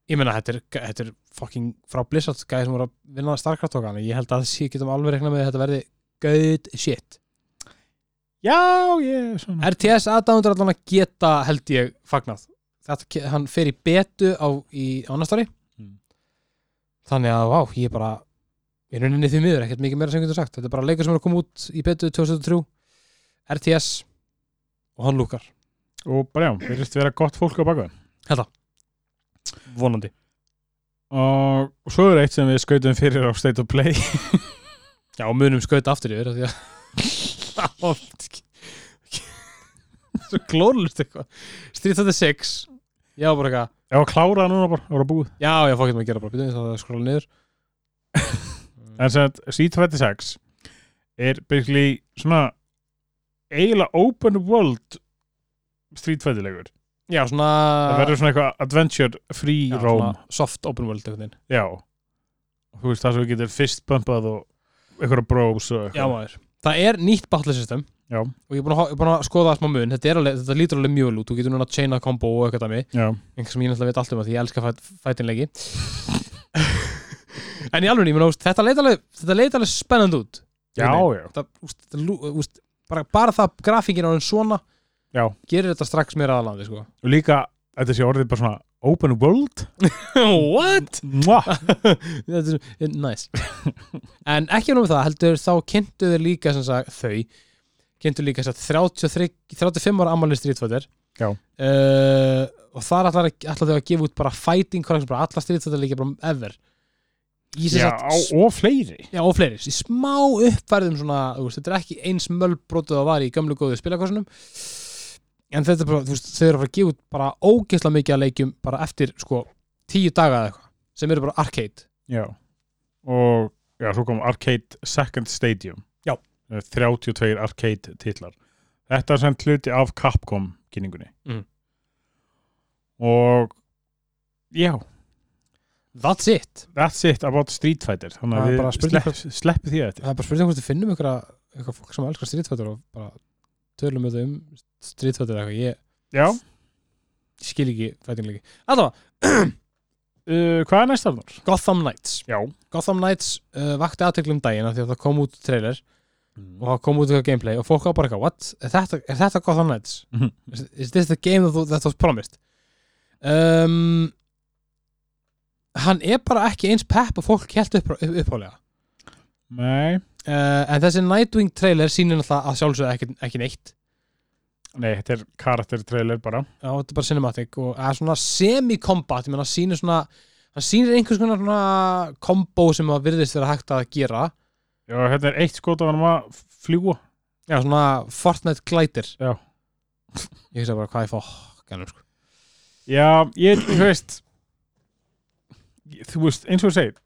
S1: ég meina þetta er, þetta er fucking frá Blizzard gæði sem voru að vinna Starcraft og hann ég held að það getum alveg reikna með að þetta verði good shit
S2: já, ég svona
S1: RTS aðdándur allan að geta held ég fagnað Þetta, ke- hann fer í betu á, í ánastari
S2: Mm.
S1: þannig að vá, ég er bara ég er unni því miður, ekkert mikið meira sem getur sagt þetta er bara leikur sem er að koma út í betu 2003 RTS og hann lúkar,
S2: Og bara já, verðist vera gott fólk á bakveðan
S1: vonandi
S2: og svo er eitt sem við skautum fyrir á State of Play
S1: já, og munum skauta aftur yfir af því að svo glóðlust eitthvað Street of the Six Já, bara eitthvað
S2: Ef að klára það núna bara, það voru búið
S1: Já, já, fókið maður að gera bara Býtum við það að skróla niður
S2: En sem sagt, C26 er basically svona eiginlega open world strítfæðilegur
S1: Já, svona
S2: Það verður svona eitthvað adventure free
S1: Ah. já,
S2: roam
S1: svona Soft open world eitthvað þinn
S2: Já Þú veist það sem við getur fyrst bumpað og einhverja bros og
S1: Já,
S2: eitthvað
S1: maður Það er nýtt battle system
S2: Já.
S1: Og ég er búin að, ho- ég er búin að skoða það smá mun Þetta, er alveg, þetta lítur alveg mjög vel út Þú getur núna að chaina combo og eitthvað dæmi
S2: Já,
S1: einhver sem ég náttúrulega veit allt um að því ég elska fæt, fætinleiki en í alveg, ég meina, úst, þetta leit alveg þetta leit alveg spennand út
S2: já, já.
S1: þetta, úst, þetta, lú- úst, bara, bara það að grafíkin á enn svona
S2: Já.
S1: gerir þetta strax mér aðalandi sko.
S2: Og líka, þetta sé orðið bara svona open world
S1: what?
S2: Mwah.
S1: Þetta er- er nice en ekki nú með það, heldur þá kynntu þau líka sem sagt, þau kynntu líka sem sagt, 33, 35 ára ammali Street Fighter
S2: Já.
S1: Eh, og þar ætlar, ætlar þau að gefa út bara fighting corrections, bara alla Street Fighter líka bara ever í sem
S2: Já,
S1: sagt
S2: og fleiri
S1: Já, og fleiri, í smá uppfærðum svona, þú veist, þetta er ekki eins mölbrotuð að var í gömlu góðu spilakossunum en þetta er bara, þú veist, þau eru að fara að gefa út bara ógeðslega mikið að leikjum bara eftir, sko, tíu daga eða eitthvað sem eru bara arcade
S2: Já Og já, svo kom Arcade Second Stadium
S1: Já.
S2: Eh, 32 Arcade titlar Þetta er sem hluti af Capcom kynningunni
S1: Mhm.
S2: Og Já,
S1: That's it
S2: that's it about Street Fighter Þannig
S1: Það er
S2: að
S1: bara
S2: við
S1: spurning
S2: slepp, sleppi því að þetta
S1: Það er bara spurning hvort við finnum einhverja eitthvað fólk sem elskar strítfættur og bara tölum við um strítfættur eða eitthvað ég
S2: Já,
S1: skil ekki fætinleiki Alltaf,
S2: uh, hvað er næsta Arnur?
S1: Gotham Knights
S2: Já
S1: Gotham Knights uh, vakti aðteklum daginn af því að það kom út trailer og það kom út eitthvað gameplay og fólk var bara eitthvað what, er þetta, er þetta Gotham Knights?
S2: Mhm.
S1: Is, is this the game that, that was promised? Um, hann er bara ekki eins pepp og fólk held upp, upp, upphálega
S2: Nei,
S1: uh, en þessi Nightwing trailer sýnir náttúrulega að sjálfsögðu ekki, ekki neitt
S2: nei, þetta er karakter trailer bara
S1: Já, þetta er bara cinematic og það er svona semi-combat, ég meina hann sýnir svona hann sýnir einhvers konar svona kombo sem að virðist vera hægt að gera
S2: Já, þetta er eitt skot af hann að fljúa
S1: Já, svona Fortnite glætir
S2: Já.
S1: Ég hugsa bara hvað ég fá gælum, sko.
S2: Já, ég, þú veist ég- Þú veist, eins og þú segir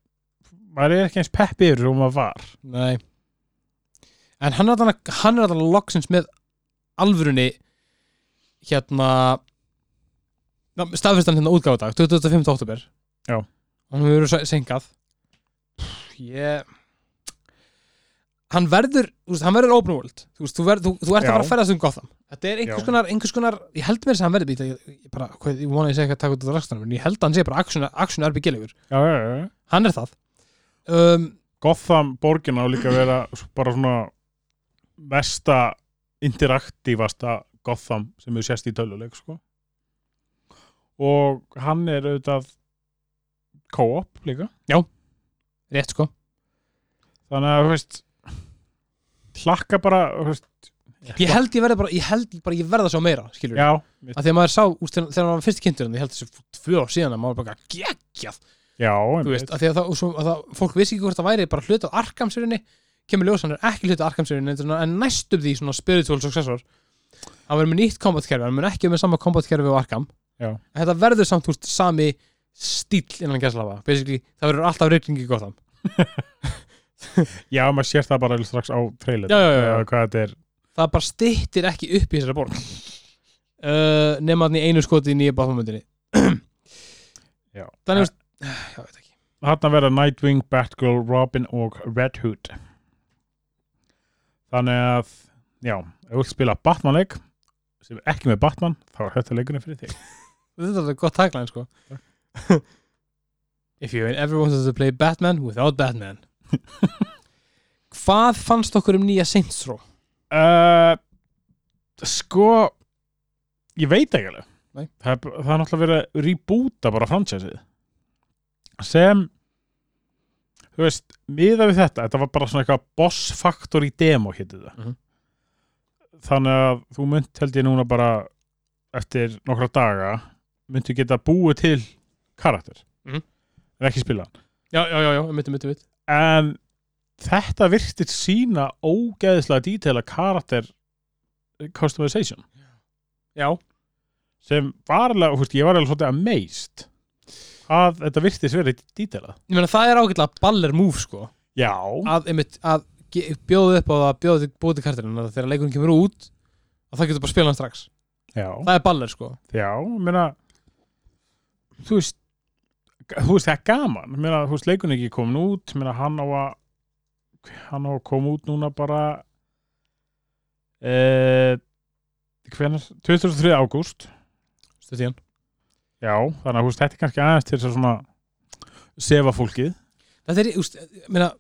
S2: maður er ekki eins peppi yfir sem maður var
S1: Nei En hann er alltaf hann er alltaf loksins með alvörunni hérna ná, staðfistan hérna útgáfadag 25. oktober
S2: Já.
S1: Og hann hefur verið se- seinkað Pff, Ég Hann verður, þú veist, hann verður open world Þú veist, þú, verð, þú, þú ert
S2: Já.
S1: að fara að ferðast um Gotham Þetta er einhvers
S2: Já.
S1: konar, einhvers konar Ég held mér þess að hann verður býta Ég, ég, bara, hvað, ég vona að ég segi ekki að taka út þetta rakstanum En ég held að hann sé bara action, action RPG-legur
S2: Já, já, já, já
S1: Hann er það um,
S2: Gotham borgin á líka að vera s- bara svona mesta interaktífasta Gotham sem við sést í töluleik sko. og hann er auðvitað co-op líka
S1: Rétt sko
S2: þannig að, þú veist hlakka bara, þú veist
S1: ég held ég verði bara, ég held bara, ég verði að sjá meira skilur,
S2: Já,
S1: að því að maður sá, úst, þegar þegar maður var fyrst kynntur en ég held þessu tvö ár síðan að maður bara geggjað,
S2: já,
S1: þú veist, að því að það, og svo, að það fólk vissi ekki hvort það væri bara hluti af Arkhamserinni kemur ljós, hann er ekki hluti af Arkhamserinni en næstum því svona spiritual successor hann verður með nýtt kombatkerfi, hann verður ekki með sama kombatkerfi og Arkham
S2: Já.
S1: En þetta verður samt úst, sami stíl innan gæslafa, basically, það verður alltaf reyningi gott hann,
S2: já, maður sér það bara strax á trailer
S1: Já, já, já, já.
S2: hvað þetta er
S1: það bara styttir ekki upp í þessari borg uh, nema hann í einu skoti í nýja báfamöndinni
S2: Já.
S1: Þannig að, já, ég veit ekki
S2: Þarna verða Nightwing, Batgirl, Robin og Red Hood Þannig að já, ef þú vilt spila Batman-leik sem er ekki með Batman, þá er þetta leikunum fyrir þig
S1: Þetta er alveg gott tagline, sko If you and everyone wants to play Batman without Batman Hvað fannst okkur um nýja Saints Row?
S2: uh, Sko ég veit ekki alveg
S1: Nei.
S2: það, er- það er náttúrulega verið að reboota bara franchise-ið sem þú veist, miða við þetta þetta var bara svona eitthvað boss factor í demo hétið það
S1: Mhm.
S2: þannig að þú mynd held ég núna bara eftir nokkra daga myndu geta búið til karakter
S1: Mhm.
S2: en ekki spila hann
S1: Já, já, já, já, mitt, mitt, mitt
S2: en þetta virtist sína ógeðslega dítela karakter customization
S1: Já,
S2: sem var alveg, þú veist, ég var alveg svolítið amazed að þetta virtist verið dítelað.
S1: ég meina það er ágætlega baller move sko
S2: Já,
S1: að, einmitt, að ge- bjóða upp á það að bjóða til búið til kartinu að þegar leikurinn kemur út að það getur bara spila hann strax
S2: já,
S1: það er baller sko
S2: já, ég meina þú veist þú veist, það er gaman, ég meina, þú veist, leikun er ekki komin út, ég meina, hann á að hann á að koma út núna bara eh, hvenær 23. ágúst
S1: Stutt í hann.
S2: já, þannig að þú veist, þetta er kannski aðeins til þess að svona sefa fólkið,
S1: þetta er, úst, ég meina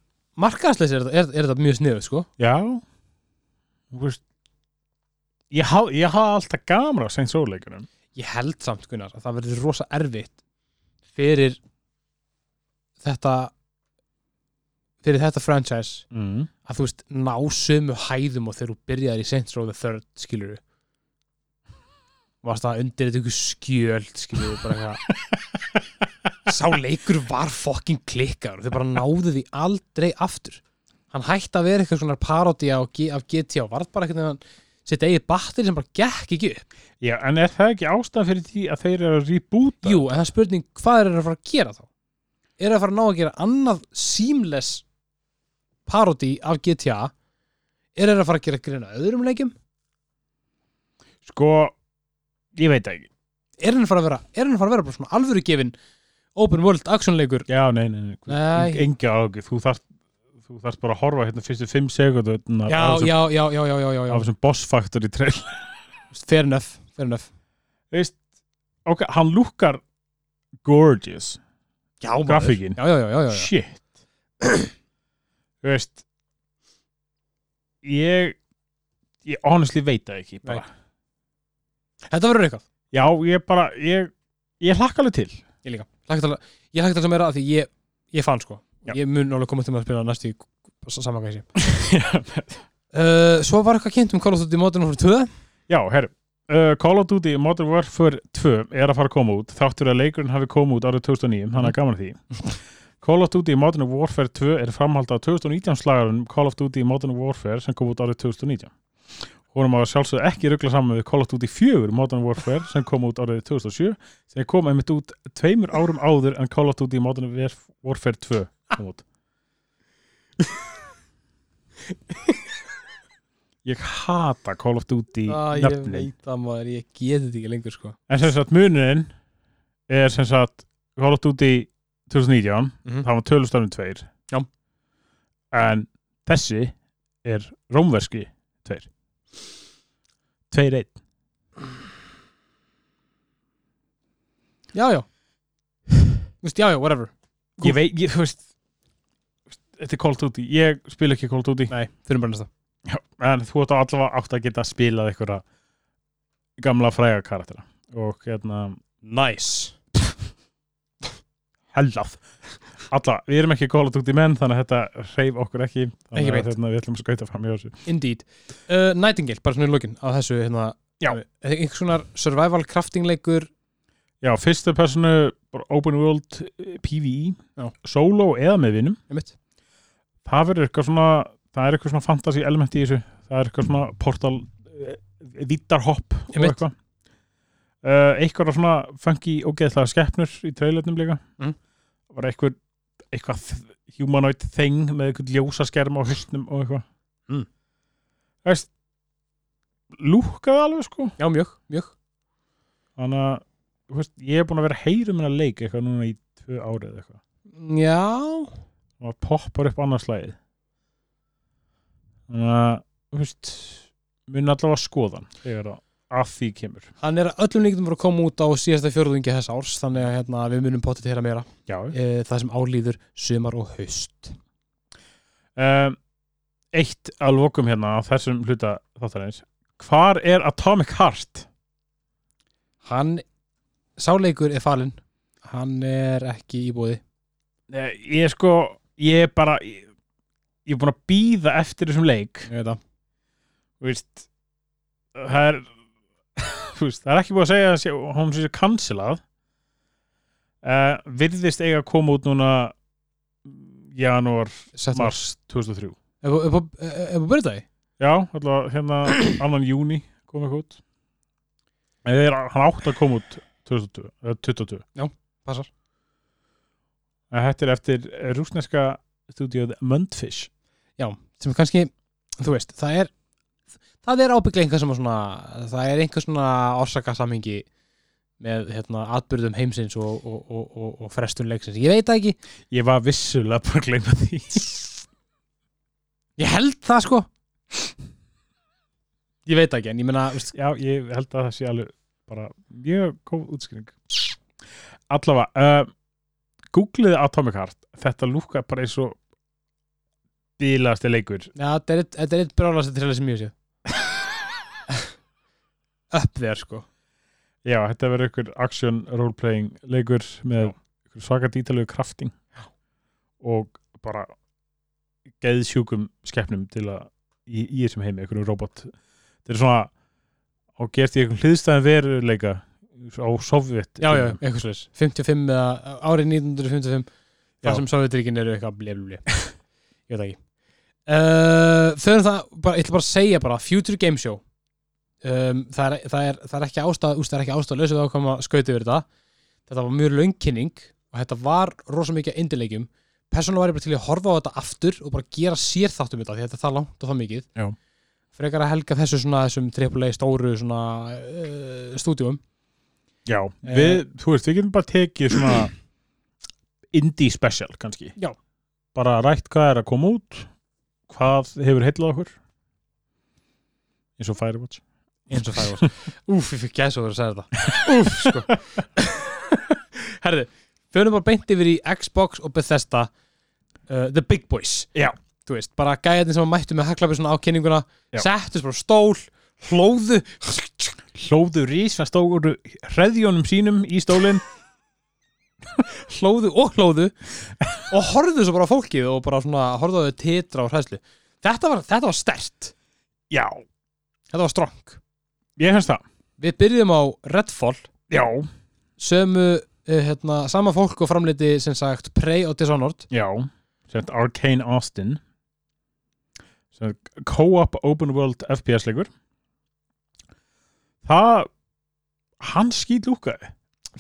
S1: markaðsleis er, þetta- er, er þetta mjög sniðuð sko
S2: já þú veist ég hafði ég haf alltaf gaman á Saints Óleikunum
S1: ég held samt Gunnar að það verður rosa erfitt fyrir þetta fyrir þetta franchise
S2: mm.
S1: að þú veist ná sömu hæðum og þegar þú byrjaðir í Saints Row the Third skilur varst það undir þetta ykkur skjöld skilur bara eitthvað sá leikur var fucking klikkar þau bara náðu því aldrei aftur hann hætti að vera eitthvað svona parodía á G- af GTA og varð bara eitthvað sitt eigið batteri sem bara gekk ekki upp
S2: Já, en er það ekki ástæðan fyrir því að þeir eru að reboota?
S1: Jú, en það er spurning hvað er að fara að gera þá? Er að fara að ná að gera annað seamless parody af GTA? Er að fara að gera greina öðrum leikjum?
S2: Sko, ég veit það ekki.
S1: Er hann að fara að vera, er hann að fara að vera bara svona alvöru gefin open world action leikur?
S2: Já, nei, nei, nei.
S1: Nei.
S2: nei. Enga áhugi. Þú þarft, þú þarft bara að horfa hérna fyrstu fimm hérna sekundurnar
S1: Já,
S2: af
S1: já, já, já, já, já, já, já.
S2: þessum bossfaktor í trail.
S1: Fair enough, fair enough.
S2: Veist, ok, hann lúkar gorgeous.
S1: Já, maður.
S2: Grafíkin.
S1: Já, já, já, já, já, já.
S2: Shit. Þú veist, ég, ég honestly veit það ekki. Bara.
S1: Þetta verður eitthvað.
S2: Já, ég bara, ég, ég hlakka alveg til.
S1: Ég líka. Lagt alveg, ég lagt alveg meira að því ég, ég fann sko.
S2: Já.
S1: Ég mun alveg koma til með að spila næstu í samankvæsi.
S2: Já,
S1: Uh, svo var eitthvað kynnt um Call of Duty Modern Warfare 2.
S2: Já, herru, uh, Call of Duty Modern Warfare 2 er að fara að koma út þáttur að leikurinn hafi komið út árið 2009 þannig
S1: Mhm.
S2: að gaman að því Call of Duty Modern Warfare 2 er framhald af 2019 slagarunum Call of Duty Modern Warfare sem kom út árið 2019 Húnum að sjálfsögðu ekki ruggla saman við Call of Duty 4 Modern Warfare sem kom út árið 2007 sem kom einmitt út tveimur árum áður en Call of Duty Modern Warf- Warfare 2 kom út Ég hata Call of Duty
S1: Ah, ég
S2: nöfnin
S1: veit það maður, ég geti þetta ekki lengur sko
S2: En sem sagt munurinn er sem sagt Call of Duty 2019 það var tölustafnum tveir
S1: Já.
S2: en þessi er rómverski tveir tveir einn
S1: Já, já Vist, Já, já, whatever
S2: ég veit, ég, þú veist þetta er Call of Duty, ég spila ekki Call of Duty
S1: Nei, þurfum bara næsta
S2: Já, en þú ert allavega átt að geta spilað einhverja gamla fræga karaktera og hérna
S1: Nice
S2: hellað Alla, við erum ekki Call of Duty menn þannig að þetta reyf okkur ekki
S1: Ekki
S2: þannig
S1: beint.
S2: að hérna, við ætlum að skauta fram í þessu
S1: Indeed uh, Nightingale, bara svona í lokin á þessu hérna
S2: Já.
S1: Eh, Einhvers konar survival crafting leikur
S2: Já, fyrstu personu, bara open world eh, PvE,
S1: Já.
S2: solo eða með vinum
S1: einmitt.
S2: það verður eitthvað svona, það er eitthvað svona fantasy element í þessu, það er eitthvað svona portal, vittarhopp og
S1: Einmitt.
S2: eitthvað uh, eitthvað svona funky og geðslega skeppnur í trailerunum líka
S1: Mhm.
S2: það var eitthvað, eitthvað th- humanoid thing með eitthvað ljósaskerm á hyllnum og eitthvað
S1: Mm.
S2: Það veist lúkaði alveg sko
S1: Já, mjög, mjög
S2: þannig að þú veist, ég er búin að vera að heyra minna leik eitthvað núna í tvö árið eða eitthvað
S1: Já
S2: og það poppar upp annarslæðið þannig að þú veist, mun allavega skoðan þegar að, að því kemur
S1: Hann er að öllum líktum voru að koma út á síðasta fjörðungi þess árs þannig að hérna, við munum potið til hérna meira
S2: já.
S1: e, það sem álíður sumar og haust
S2: Um, eitt að lokum hérna á þessum hluta þáttarins hvar er Atomic Heart?
S1: Hann, sáleikur er falinn Hann er ekki í bóði
S2: Nei, ég er sko ég er bara ég, ég er búin að býða eftir þessum leik
S1: Ég veit það
S2: þú veist það er þú veist, það er ekki búið að segja að sé- hún sé cancelað uh, virðist eiga að koma út núna janúar,
S1: Settum
S2: mars 2003
S1: Ef ef- ef- ef- ef þú byrðið það í?
S2: já, alltaf hérna annan júni kom ekki út En þeir, hann átt að koma út 2020, eða 22.
S1: Passar.
S2: En Eh, þetta er eftir rúsneska stúdíóð Mundfish.
S1: Já, sem er kannski, þú veist, það er það er ábygglega einhver sem að svona það er einhver svona orsakasamhengi með hérna atbyrðum heimsins og, og, og, og, og frestun leiksins. Ég veit það ekki
S2: Ég var vissulega bara að gleyma því.
S1: Ég held það sko Ég veit það ekki, en ég meina veist,
S2: Já, ég held að það sé alveg bara mjög góð útskýring. Allavega, uh, googliði Atomic Heart. Þetta lúka bara eins og bílasti leikur.
S1: Já, þetta er eitt- þetta er eitt brálast trailer sem ég sé Upp þér sko
S2: Já, þetta verður ykkur action role-playing leikur með
S1: Já.
S2: ykkur svaka dítalegu krafting og bara geðsjúkum skepnum til að í, í þessum heimi, ykkur robot þetta er svona og gerst í ykkur hliðstæðan veruleika á Sovjet
S1: Já, já, eitthvað slags 55 eða árið 1955
S2: Já.
S1: þar sem Sovjetríkin eru eitthvað bleflubli Ég veit það ekki uh, Förum það, bara, ég ætla bara að segja bara Future Game Show um, það, er, það, er, það er ekki ástæða úst, það er ekki ástæða lausið að koma skauti yfir þetta þetta var mjög löngkynning og þetta var rosa mikið að indilegjum persónulega var ég bara til í að horfa á þetta aftur og bara gera sér þáttum þetta því þetta er það langt og það mikið
S2: Já.
S1: frekar að helga þessu svona þessum AAA stóru svona uh, stúdíum
S2: já við, þú veist, við getum bara tekið svona indie special kannski
S1: Já.
S2: bara rætt hvað er að koma út hvað hefur heillað okkur eins og Firewatch
S1: eins og Firewatch Úf, ég fikk gæsa að vera að segja þetta Úf, sko Herði, förum bara beint yfir í Xbox og Bethesda uh, The Big Boys
S2: Já.
S1: Þú veist, bara gæðin sem að mættu með haklapi svona ákynninguna
S2: Já.
S1: Settust bara á stól, hlóðu
S2: hlóðu rísa stóru hreðjónum sínum í stólinn
S1: Hlóðu og hlóðu Og horfðu svo bara á fólkið og bara svona Horfðu á þau titra og hræðslu Þetta var, þetta var stert,
S2: Já,
S1: þetta var strong
S2: ég finnst það
S1: Við byrjum á Redfall
S2: Já,
S1: Sömu, uh, hérna, sama fólk og framliti sem sagt Prey og Dishonored
S2: já Sett Arcane Austin Sett Co-op Open World FPS leikur Það hann skýt lúkaði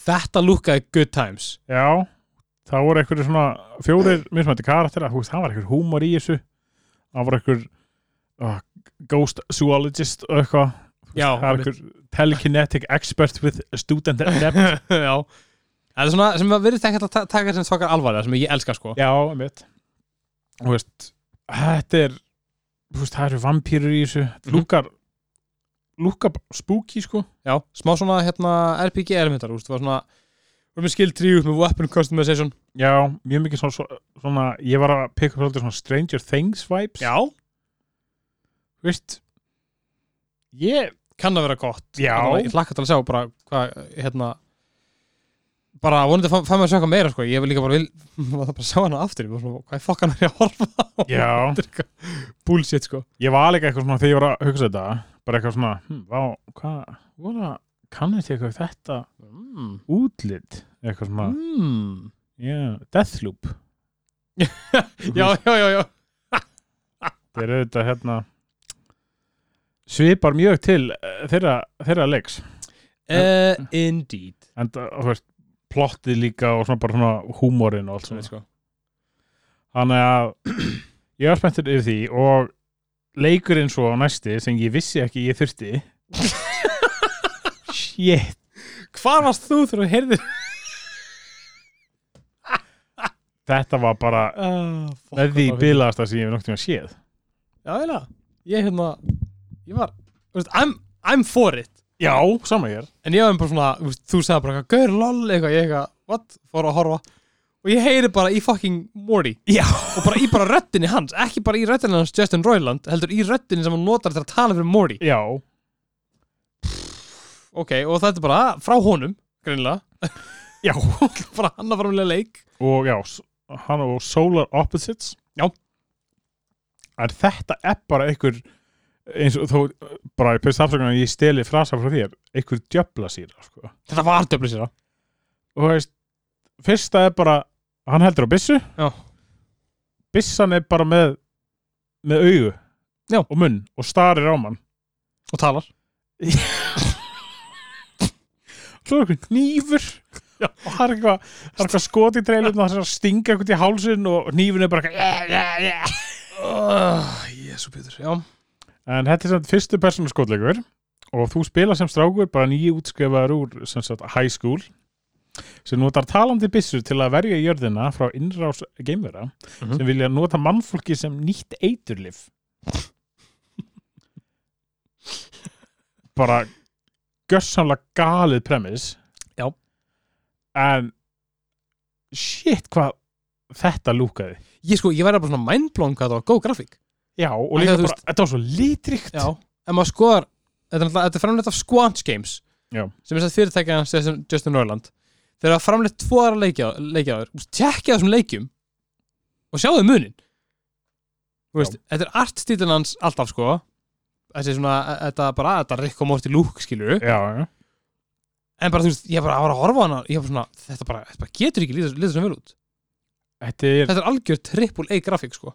S1: Þetta lúkaði good times
S2: Já, það voru einhverju svona fjórir mismætti karaktera, þú veist, það var einhver húmor í þessu það var einhver uh, ghost zoologist og eitthvað Þú veist,
S1: Já,
S2: það var
S1: einmitt.
S2: einhver telekinetic expert with student debt
S1: Já Það er svona sem að verið ekkert að ta- taka sem svakar alvarlega sem ég elska sko
S2: Já, einmitt Þú veist, þetta er þú veist, það eru vampýrur í þessu mm
S1: Mhm.
S2: lúkar, lúkar bara spooky sko
S1: Já, smá svona hérna RPG elementar úst, var svona, við erum með skill 3 með weapon customization
S2: Já, mjög mikið svona, svona, svona ég var að pikka upp svolítið svona Stranger Things vibes Þú veist ég,
S1: Kann að vera gott
S2: já,
S1: Þannig að Ég hlakka til að sjá bara hvað hérna bara vonandi að fæ maður að sjá eitthvað meira sko ég vil líka bara vil, maður þarf bara að sjá hana aftur Ég var svona, hvað er fokkan er ég að horfa á
S2: já
S1: Þetta er eitthvað bullshit sko
S2: ég var líka eitthvað svona þegar ég var að hugsa þetta bara eitthvað svona, hm, vá, hvað voru að kannast ég eitthvað við þetta
S1: mm.
S2: útlit, eitthvað svona
S1: Mm.
S2: yeah, Deathloop
S1: Já, já, já, já
S2: þeir eru þetta hérna svipar mjög til eh, þeirra, þeirra leiks
S1: uh, Indeed
S2: en það, þú veist, plottið líka og svona bara svona húmórin og allt
S1: Svona, sko.
S2: svona þannig að ég var spenntur yfir því og leikurinn svo á næsti sem ég vissi ekki ég þurfti shit
S1: Hvar varst þú þegar þú heyrðir
S2: þetta var bara
S1: oh,
S2: með því bilaðasta sem ég hef noktið að séð
S1: Já, eiginlega. ég hérna Ég var, þú veist, I'm, I'm for it
S2: já, sama ég er
S1: En ég var bara svona, þú veist, þú sagði bara eitthvað Gaur lol, eitthvað, ég eitthvað, what, fór að horfa Og ég heyri bara í fucking Morty
S2: já,
S1: Og bara í bara röddinni hans Ekki bara í röddinni hans Justin Roiland Heldur í röddinni sem hann notar til að tala fyrir Morty
S2: já.
S1: Ok, og þetta er bara frá honum, greinilega
S2: Já.
S1: Bara hann að framlega leik
S2: og já, s- hann og Solar Opposites
S1: Já.
S2: en þetta er bara einhver eins og þó bara ég pyrst afsökunar að ég steli frasa frá þér einhver djöfla síra sko.
S1: Þetta var döflis sér á
S2: og þú veist, fyrsta er bara hann heldur á byssu
S1: Já.
S2: byssan er bara með með augu
S1: Já.
S2: og munn og starir á mann
S1: Og talar
S2: svo er eitthvað nýfur
S1: Já.
S2: og það er eitthvað, það er eitthvað skot í treilum og það er að stinga eitthvað í hálsin og nýfun er bara eitthvað
S1: Jésu Pétur, já
S2: en þetta er sem sagt fyrstu persónu skotleikur og þú spila sem strákur bara nýju útskrifaður úr sem sagt high school sem notar talandi byssur til að verja jörðina frá innrás geimvera
S1: Mhm.
S2: sem vilja nota mannfólki sem nýtt eiturlif bara gössamlega galið premis
S1: Já.
S2: en shit hvað þetta lúkaði
S1: Ég sko, ég verði bara svona mindblown hvað það var góð grafík
S2: já
S1: Af
S2: og
S1: því
S2: líka
S1: að þú
S2: bara, þetta var svo litrikt
S1: Já, en maður skoðar Þetta er, náttúrulega- þetta er framleitt af Squanch Games
S2: Já.
S1: sem er þess að fyrirtækja hans sem Justin Norland þeir hafa framleitt tvo aðra leiki á- leiki á þér tjekkja þessum leikjum og sjáðu munin Þú veist, þetta er artstílinn hans alltaf sko þessi svona, e- þetta bara þetta Rick og Morty look skilur
S2: já, já.
S1: en bara þú veist, ég bara var að horfa á hana ég var svona, þetta bara, þetta bara getur ekki lítið lítið sem vel út
S2: Þetta, er,
S1: þetta er algjör triple A grafík sko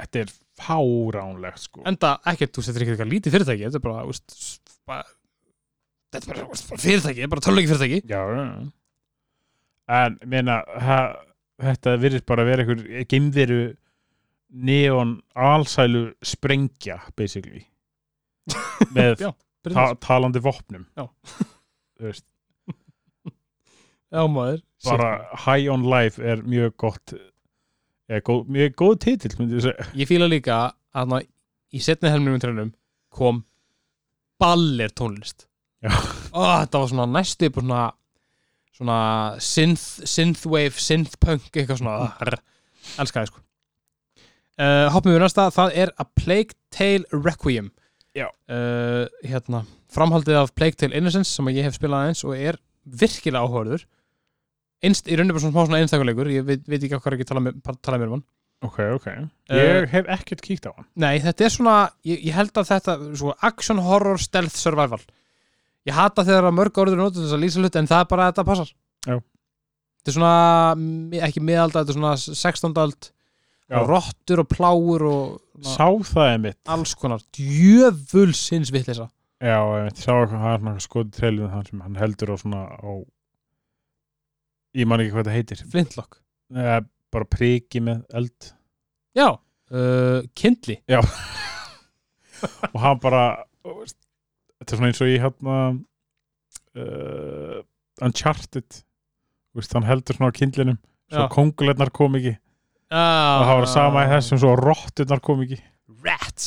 S2: þetta er fáránlegt sko
S1: enda ekkert, þú veist, þetta er ekki eitthvað lítið fyrirtæki þetta er bara, þú veist s- bara, þetta er bara, þú veist, bara fyrirtæki, bara töluleiki fyrirtæki
S2: Já, já, já. En, meina, ha, þetta virðist bara að vera einhver geimveru neon alsælu sprengja, basically. Með
S1: Já,
S2: ta talandi vopnum.
S1: Já.
S2: Þú veist,
S1: já maður
S2: bara High on Life er mjög gott, er góð, mjög góð titill, myndi ég segja.
S1: Shit. ég fíla líka að ná, í setni helminum trænum kom ballir tónlist
S2: Já.
S1: Ó, þetta var svona næstu upp á svona, svona synth, synthwave, synthpunk eitthvað svona Rr. elskaði sko uh, hoppum við í næsta, það er A Plague Tale Requiem
S2: Já.
S1: Eh, hérna, framhaldið af Plague Tale Innocence sem að ég hef spilað aðeins og er virkilega áhörður Einst, í rauninni bara svona smá svona einstakulegur ég veit, veit ekki hvað ekki tala, með, tala mér um hann
S2: Ok, ok.
S1: Eh,
S2: Ég hef ekkert kíkt á hann.
S1: Nei, þetta er svona, ég, ég held að þetta svo action horror stealth survival ég hata þegar að mörg orður notur þess að lýsa hlut en það er bara að þetta passar
S2: Já.
S1: Þetta er svona mi- ekki miðalda, þetta er svona 16. ald
S2: Já.
S1: rottur og pláur og
S2: Sá það einmitt.
S1: alls konar djöfulsins vitleysa
S2: Já, ég sá eitthvað, það er náttúrulega skoði treylið þann sem hann heldur á svona á ég man ekki hvað það heitir
S1: Flintlock
S2: Eh, bara priki með eld
S1: Já, uh, kindli
S2: og hann bara ó, veist, þetta er svona eins og ég hérna uh, Uncharted Þú veist, hann heldur svona á kindlinum svo
S1: Já.
S2: kongulegnar kom ekki
S1: Ah.
S2: og það var það sama í þessum svo rotturnar kom ekki
S1: Rats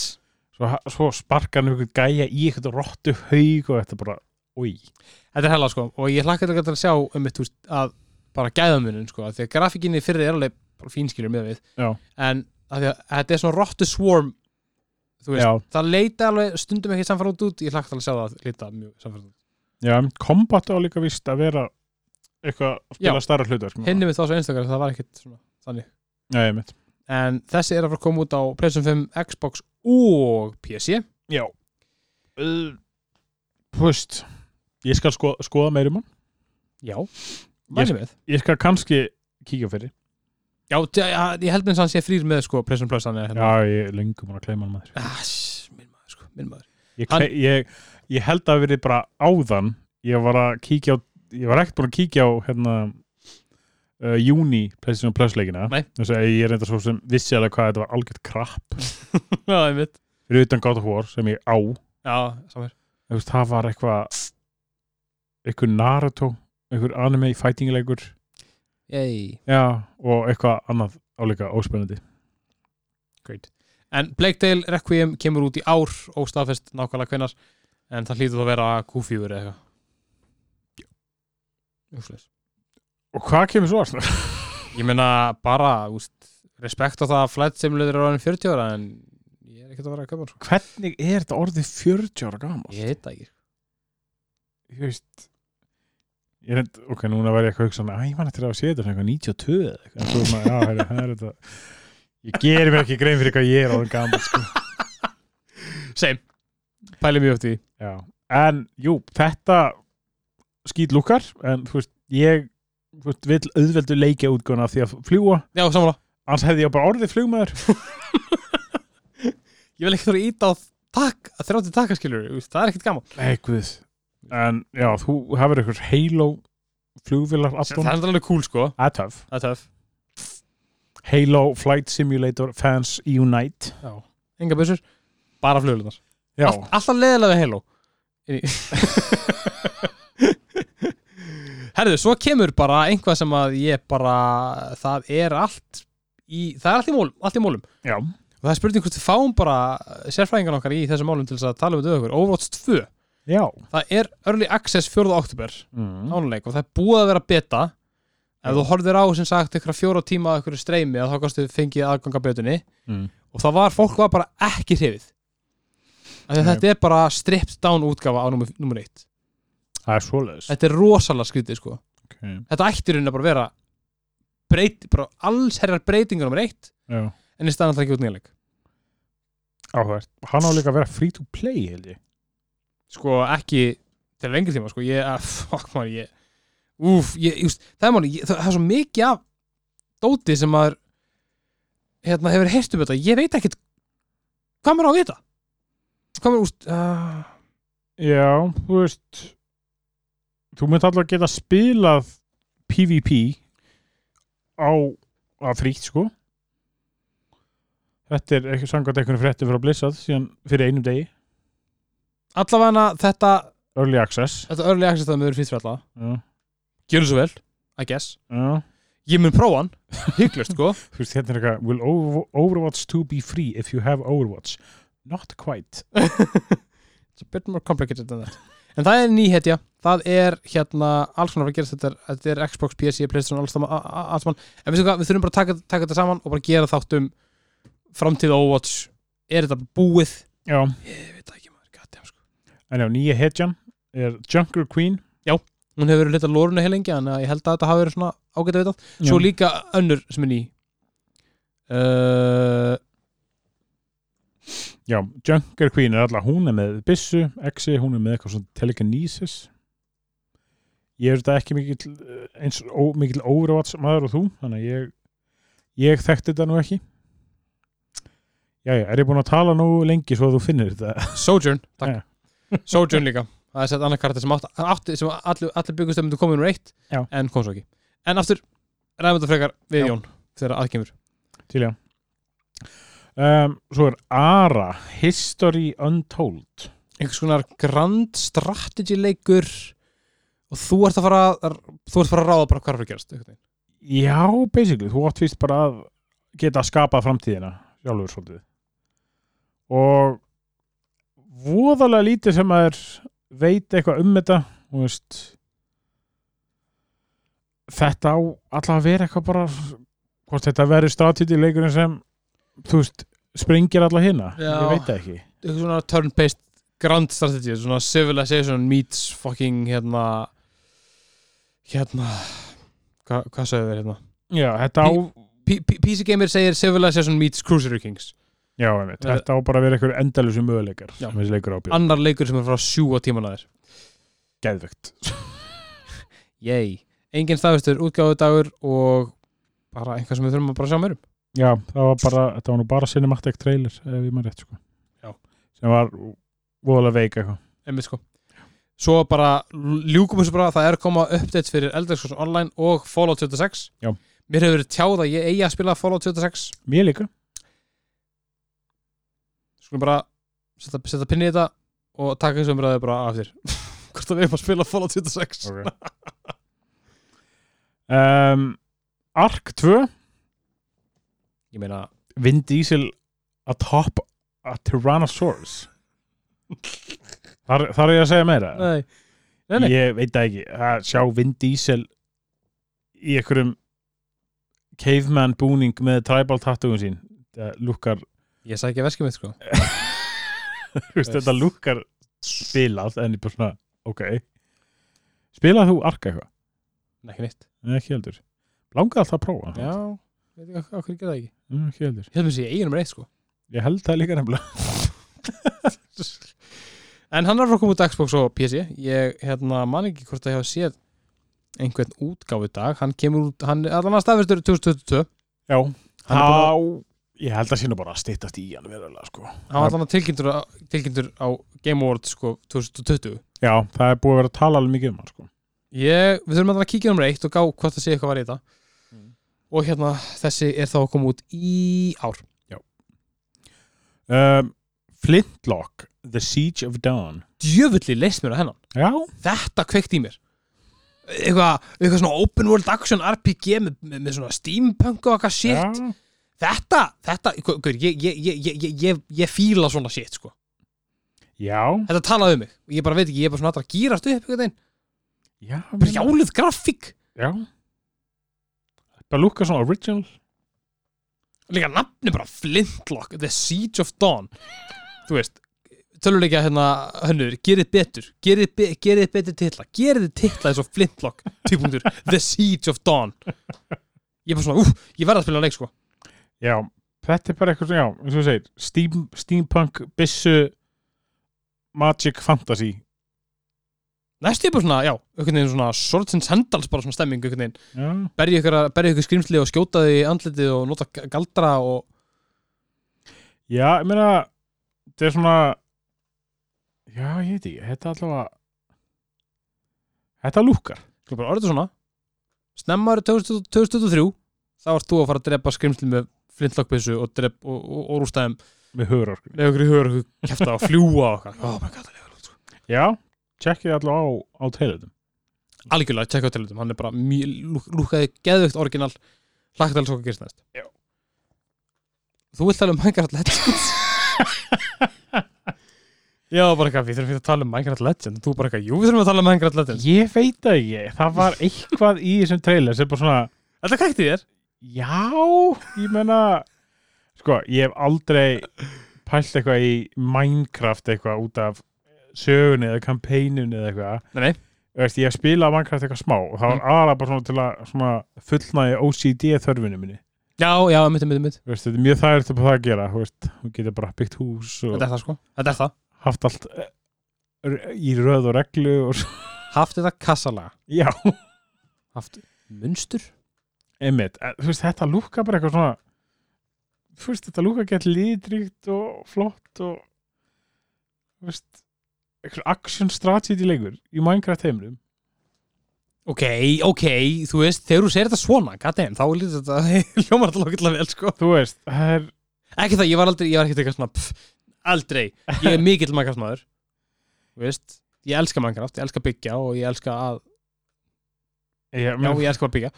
S2: svo, ha- svo sparkar hann ykkur gæja í eitthvað rottu haug og þetta bara, oi
S1: Þetta er hella sko og ég hlakka til að sjá um mitt húst að bara gæðamunin sko af því að grafíkinni fyrir er alveg bara fínskilur með við
S2: Já.
S1: en af því að þetta er svona rottu swarm þú veist,
S2: Já.
S1: það leita alveg stundum ekki samfara út út ég hlakka til að sjá það lita mjög samfara út
S2: Já, kombat á líka vist að vera eitthvað að sko. spila starra hlutverk
S1: Hinni við þá svo einstakar það var ekkit svona þannig
S2: Nei, mitt
S1: en þessi er að fara að koma út á Playstation 5, Xbox og PC
S2: Já Uh, Þú veist Ég skal sko, skoða meir um hann
S1: Já, mæli með
S2: Ég skal kannski kíkja fyrir
S1: Já, d- ja, ég held minn sann sé frýr með sko Playstation Plus hann er hérna
S2: Já, ég er löngu búin að kleima hann maður
S1: Ass, minn maður sko, minn maður
S2: ég,
S1: Hann-
S2: hann... ég, ég held að verið bara áðan Ég var að kíkja á Ég var ekkert búin að kíkja á hérna uh, Júni Playstation Plus leikina
S1: Nei.
S2: Þess að ég er enda svo sem vissi alveg hvað þetta var algjört krapp
S1: Já, einmitt
S2: Fyrir utan God of War sem ég á
S1: Já, samar
S2: Þú veist, það var eitthvað eitthvað Naruto eitthvað anime fightingleikur
S1: Yay
S2: já, og eitthvað annað áleika óspennandi
S1: Great. En Blake Dale Requiem kemur út í ár óstafest nákvæmlega hvenar en það hlýtur þá að vera Q4 eða eitthvað Úsleis.
S2: og hvað kemur svo aftur?
S1: Ég meina bara úst, respekt á það að Flight Simulator er orðin 40 ára en ég er ekkert að vera að köpa hann sko.
S2: hvernig er þetta orðið 40 ára gamalt?
S1: Ég heita ekki
S2: ég veist ég reynd, ok, núna var ég eitthvað hugsa að ég man eftir að sé þetta svona eitthvað 92 eða eitthvað, En svo svona, já, heyrðu, það er þetta ég gerir mér ekki grein fyrir hvað ég er orðin gamalt sko.
S1: Same Pæli mjög oft í því.
S2: já, en jú, þetta skýt lukkar, en þú veist, ég þú veist, vil auðveldu leikja útgöna því að fljúa
S1: Já, samanlega
S2: annars hefði ég bara orðið flugmaður
S1: Ég vil ekki þurfa að íta á takk, 30 takkaskilur Það er ekkert gaman
S2: Nei, guð en já, þú hefur eitthvað Halo flugvilar
S1: Það
S2: addon
S1: er alveg cool sko
S2: Það er töf
S1: Það er töf
S2: Halo Flight Simulator Fans Unite
S1: Enga bussur Bara fluglunar
S2: Já,
S1: Allt, Alltaf leðilega við Halo Inn í- Herðu, svo kemur bara einhvað sem að ég bara Það er allt í Það er allt í mólum, allt í mólum.
S2: já,
S1: Og það er spurning hvort við fáum bara sérfræðingan okkar í þessum málum til þess að tala um þetta okkur Overwatch 2
S2: já
S1: Það er Early Access 4. oktober
S2: mm.
S1: nánuleik og það er búið að vera beta ef þú horfir á sem sagt ykkur fjóra tíma ykkur streymi að þá kannstu fengið aðganga betunni
S2: Mm.
S1: og það var, fólk var bara ekki hrifið af því að
S2: Nei.
S1: þetta er bara stripped down útgafa á nummer, nummer eitt
S2: Það er svoleiðis
S1: þetta er rosalega skrítið sko
S2: okay.
S1: þetta ættir hún að bara vera breyt, bara alls herjar breytingar nummer eitt
S2: Já,
S1: en í staðan alltaf ekki út nýjanleik
S2: áhverð Hann á líka að vera free to play held ég
S1: sko ekki til lengri tíma sko ég, að, fuck man, ég úf, ég, just, það er máli, ég, það, það er svo mikið af dóti sem maður hérna hefur heyrt um þetta, ég veit ekkert hvað maður á að vita hvað maður, úst uh,
S2: Já, þú veist Þú mynd alltaf að geta spilað PvP á að fríkt sko Þetta er ekki samkvæmt einhvern frétti frá Blizzard síðan fyrir einum degi,
S1: allavega þetta,
S2: early access
S1: þetta örli access það meður fyrst fyrir alla,
S2: Já,
S1: gjörum svo vel I guess,
S2: já
S1: ég mun prófa hann hygglust sko,
S2: Þú veist, hérna er eitthvað Will Over- Overwatch 2 be free if you have Overwatch? Not quite
S1: it's a bit more complicated than that en það er nýhetja, það er hérna alls konar að fara að gerast þetta er, þetta er Xbox, PC, Playstation, alls sama- a- a- alls mann en við, hvað, við þurfum bara að taka, taka þetta saman og bara gera þátt um framtíð Overwatch er þetta búið?
S2: Já,
S1: Ég veit það ekki maður, goddamn sko
S2: en já, nýja hetjan er Junker Queen
S1: hún hefur verið litað lórunni heilengi en ég held að þetta hafi verið svona ágætt að vita svo
S2: Já.
S1: líka önnur sem er ný uh,
S2: Já, Junker Queen er alltaf, hún er með byssu, exi, hún er með eitthvað svona telekinesis Ég er þetta ekki mikill eh, eins ó, mikill óvervats maður og þú þannig að ég, ég þekkti þetta nú ekki Jæja, er ég búin að tala nú lengi svo að þú finnir þetta?
S1: Sojourn, takk Sojourn líka, það er sett annar karakter sem, átt, átti, sem allir, allir byggustöfum myndu komið nr. 1
S2: Já.
S1: en kom svo ekki en aftur, ræðum þetta frekar við
S2: Já.
S1: Jón þegar aðkemur
S2: Til já um, Svo er Ara History Untold
S1: einhvers konar grand strategy leikur og þú ert að fara að- þú ert að fara að ráða bara hvað er að gerast einhvern veginn.
S2: Já, basically, þú átt fyrst bara að geta að skapa framtíðina sjálfur svolítið og voðalega lítið sem maður veit eitthvað um þetta þú veist þetta á allavega að vera eitthvað bara hvort þetta verður stratíti leikurinn sem þú veist, springir alla hina
S1: Já.
S2: ég veit það ekki
S1: einhvers konar turn-based grand strategy svona civilization meets fucking hérna hérna hva, hvað sagði þér hérna
S2: Já, þetta á,
S1: P- P- PC Gamer segir civilization meets Crusader Kings
S2: já, einmitt, þetta á bara að vera eitthvað endalusum möguleikar
S1: Já.
S2: sem þessi leikur ábjörn,
S1: annar leikur sem er frá sjúga tíman að þér
S2: geðvegt
S1: Yay. Engin staðvistur, útgáðu dagur og bara einhvað sem við þurfum að bara sjá mér um
S2: Já, það var bara, þetta var nú bara cinematic trailer ef ég maður rétt sko
S1: Já.
S2: sem var voðalega veik eitthvað
S1: einmitt sko Svo bara ljúkum þessu bara, það er að koma updates fyrir Elder Scrolls Online og Fallout 76
S2: Já.
S1: Mér hefur verið tjáð að ég eigi að spila Fallout 76
S2: Mér líka
S1: Skulum bara setja, setja pinni í þetta og taka þessu umræðu bara af þér Hvort að við erum að spila Fallout 76
S2: okay. um, Ark 2
S1: Ég meina,
S2: Vin Diesel a top a Tyrannosaurus þar, þar er ég að segja meira
S1: nei, nei, nei.
S2: Ég veit það ekki að sjá Vin Diesel í einhverjum caveman búning með tribal tattooum sín það lukkar
S1: Ég sagði ekki að veski mitt sko
S2: Þú veist, þetta lukkar spilað en ég bara svona, ok spilað þú arka eitthvað?
S1: Nei, Ekki neitt
S2: Nei, ekki heldur langaði alltaf að prófa
S1: Já, veit ekki hvað hverju gerði það ekki
S2: Mm, ekki heldur.
S1: Ég held mér sé ég eigi nummer eitt sko
S2: ég held það líka nefnilega
S1: En hann er frá að koma út á Xbox og PC Ég hérna, man ekki hvort að ég hafa séð einhvern útgáfu dag Hann kemur út, hann er allan að staðfestur 2022
S2: já,
S1: Hann er búinn
S2: ég held að sína bara að styttast í hann verulega sko
S1: Hann var allan að tilkynntur, á- tilkynntur á Game Awards sko, 2020
S2: Já, það er búið að vera að tala alveg mikið um hann sko.
S1: Ég, við þurfum alltaf að kíkja nummer eitt og gá hvort það sé eitthvað var í þetta
S2: Mm.
S1: og hérna þessi er þá að koma út í ár
S2: um, Flintlock The Siege of Dawn
S1: djöfulli leist mér á hennan
S2: Já,
S1: þetta kveikt í mér eitthvað, eitthvað svona open world action RPG með, með, með svona steampunk og eitthvað shit
S2: já.
S1: þetta, þetta, guður, ég, ég, ég, ég, ég, ég, ég fíla svona shit sko
S2: Já,
S1: þetta talaði um mig, ég bara veit ekki, ég er bara svona alltaf að gýrast upp einhvern veginn,
S2: já,
S1: brjálið grafík
S2: já. Bara lúka svona original
S1: líka nafni bara Flintlock The Siege of Dawn þú veist, töluleika hérna hönnur, gerið betur, gerið, be, gerið betur titla, gerið titla eins og Flintlock típunktur, The Siege of Dawn ég er bara svona, úf, ég verð að spila leik sko,
S2: Já, þetta er bara eitthvað svona, já, eins og þú segir steam, Steampunk, Bissu Magic Fantasy
S1: næstu ég bara svona, já einhvern veginn svona Swords and Sandals bara svona stemming, einhvern veginn,
S2: Já,
S1: berja ykkur, að- berja ykkur skrimsli og skjóta því andlitið og nota g- galdra og
S2: já ég meina þetta er svona Já, ég veit ekki, þetta er allavega Þetta lúkar
S1: sko bara orðið svona snemma árið 2000 2023 þá ert þú að fara að drepa skrimsli með Flintlock-byssu og, drep- og, og, og rústaðum
S2: með höfurorku
S1: með okkur í hugur okkur kæfta að fljúa og okkar oh my god, það legur út sko.
S2: Já, tjekkið allavega á, á teilutum
S1: algjörlega, tjekka á tilhjóðum, hann er bara mjög, lúk, lúkaði geðvögt orginal hlakta alveg svo hvað gerist næst
S2: Já.
S1: þú vilt tala um Minecraft Legends já, bara eitthvað, við þurfum að tala um Minecraft Legends og þú bara eitthvað, jú, við þurfum að tala um Minecraft Legends
S2: Ég veit það ekki, það var eitthvað í þessum trailer sem bara svona,
S1: þetta kækti þér
S2: já, ég menna, sko, ég hef aldrei pælt eitthvað í Minecraft eitthvað út af sögunni eða kampænunni eða eitthvað.
S1: nei, nei,
S2: Þú Veist, ég hef spilað Minecraft eitthvað smá og það var
S1: Mm.
S2: aðalega bara svona til að svona fullnaði OCD þörfinu minni.
S1: já, já, mitt, mitt, mitt
S2: Þú Veist, þetta er mjög þærið upp á það að gera, þú veist, hún getur bara byggt hús og
S1: þetta er það sko, þetta er það
S2: haft allt eh, r- í röð og reglu og svo.
S1: haft þetta kassalega,
S2: Já,
S1: haft munstur
S2: einmitt, eh, þú veist, þetta lúka bara eitthvað svona þú veist, þetta lúka gett lítrikt og flott og þú veist eitthvað action strategy leikur í Minecraft heimrum
S1: Ok, ok, þú veist, þegar þú segir þetta svona, goddamn, þá lítið þetta hljómar alltaf okkurlega vel, sko.
S2: þú veist, það er,
S1: ekki það, ég var aldrei, ég var ekkert eitthvað svona pff, aldrei, ég er mikill Minecraft maður Þú veist, ég elska Minecraft ég elska að byggja og ég elska að
S2: ég,
S1: já,
S2: menn,
S1: ég elska að byggja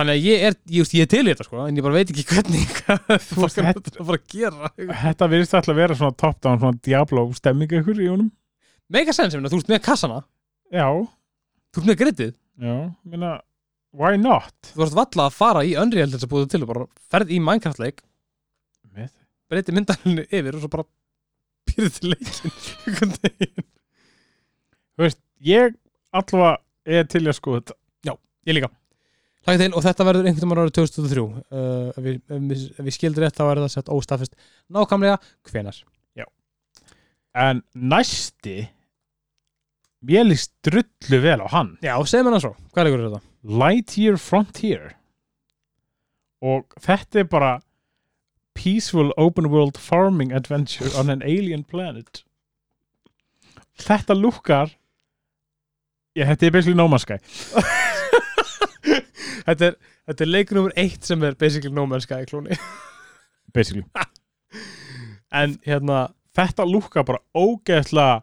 S1: þannig að ég er, ég, veist, ég er til í þetta sko en ég bara veit ekki hvernig hvað þú
S2: veist,
S1: fólk er
S2: þetta-
S1: að fara að gera
S2: þetta virðist alltaf að vera svona top down, svona Diablo stemming ykkur í honum,
S1: mega sens, ég meina, þú ert með kassana
S2: já
S1: þú ert með grittið,
S2: já, ég meina, why not
S1: þú ert valla að fara í Unreal til þess að búið til og bara ferð í Minecraft leik
S2: Einmitt.
S1: breyti myndalinu yfir og svo bara pyrrið til leikin einhvern veginn.
S2: þú veist, ég allavega er til í að sko þetta
S1: ég líka Lagið til og þetta verður einhvern veginn árið 2003 uh, ef, við, ef, við, ef við skildur rétt þá er það sett óstafist nákvæmlega hvenar
S2: en næsti mér líst drullu vel á hann
S1: Já, segjum hann svo, hvað leikur er þetta?
S2: Lightyear Frontier og þetta er bara peaceful open world farming adventure on an alien planet þetta lukkar já, þetta er basically No Man's Sky
S1: Þetta er, þetta er leikur nummer eitt sem er basically no man's sky klóni
S2: basically.
S1: en hérna,
S2: þetta lukkar bara ógeðslega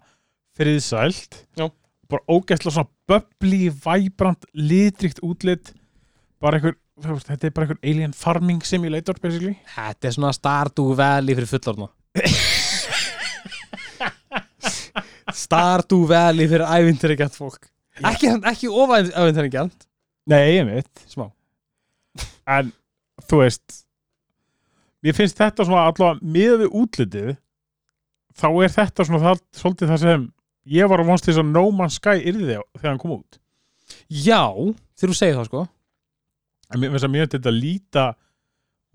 S2: friðsælt
S1: Já.
S2: bara ógeðslega svona bubbly, vibrant, litrikt útlit bara einhver þú veist, þetta er bara einhver alien farming simulator basically
S1: þetta er svona Stardew Valley fyrir fullorna Stardew Valley fyrir ævindirikjant fólk
S2: Já.
S1: ekki, ekki ofævindirikjant
S2: nei, ég veit
S1: smá
S2: en þú veist mér finnst þetta svona allavega miðað við útlitið þá er þetta svona það, svolítið það sem ég var að vonst til þess að No Man's Sky yrði þegar, þegar hann kom út
S1: Já, þegar þú segir það sko
S2: en mér finnst að mér finnst þetta líta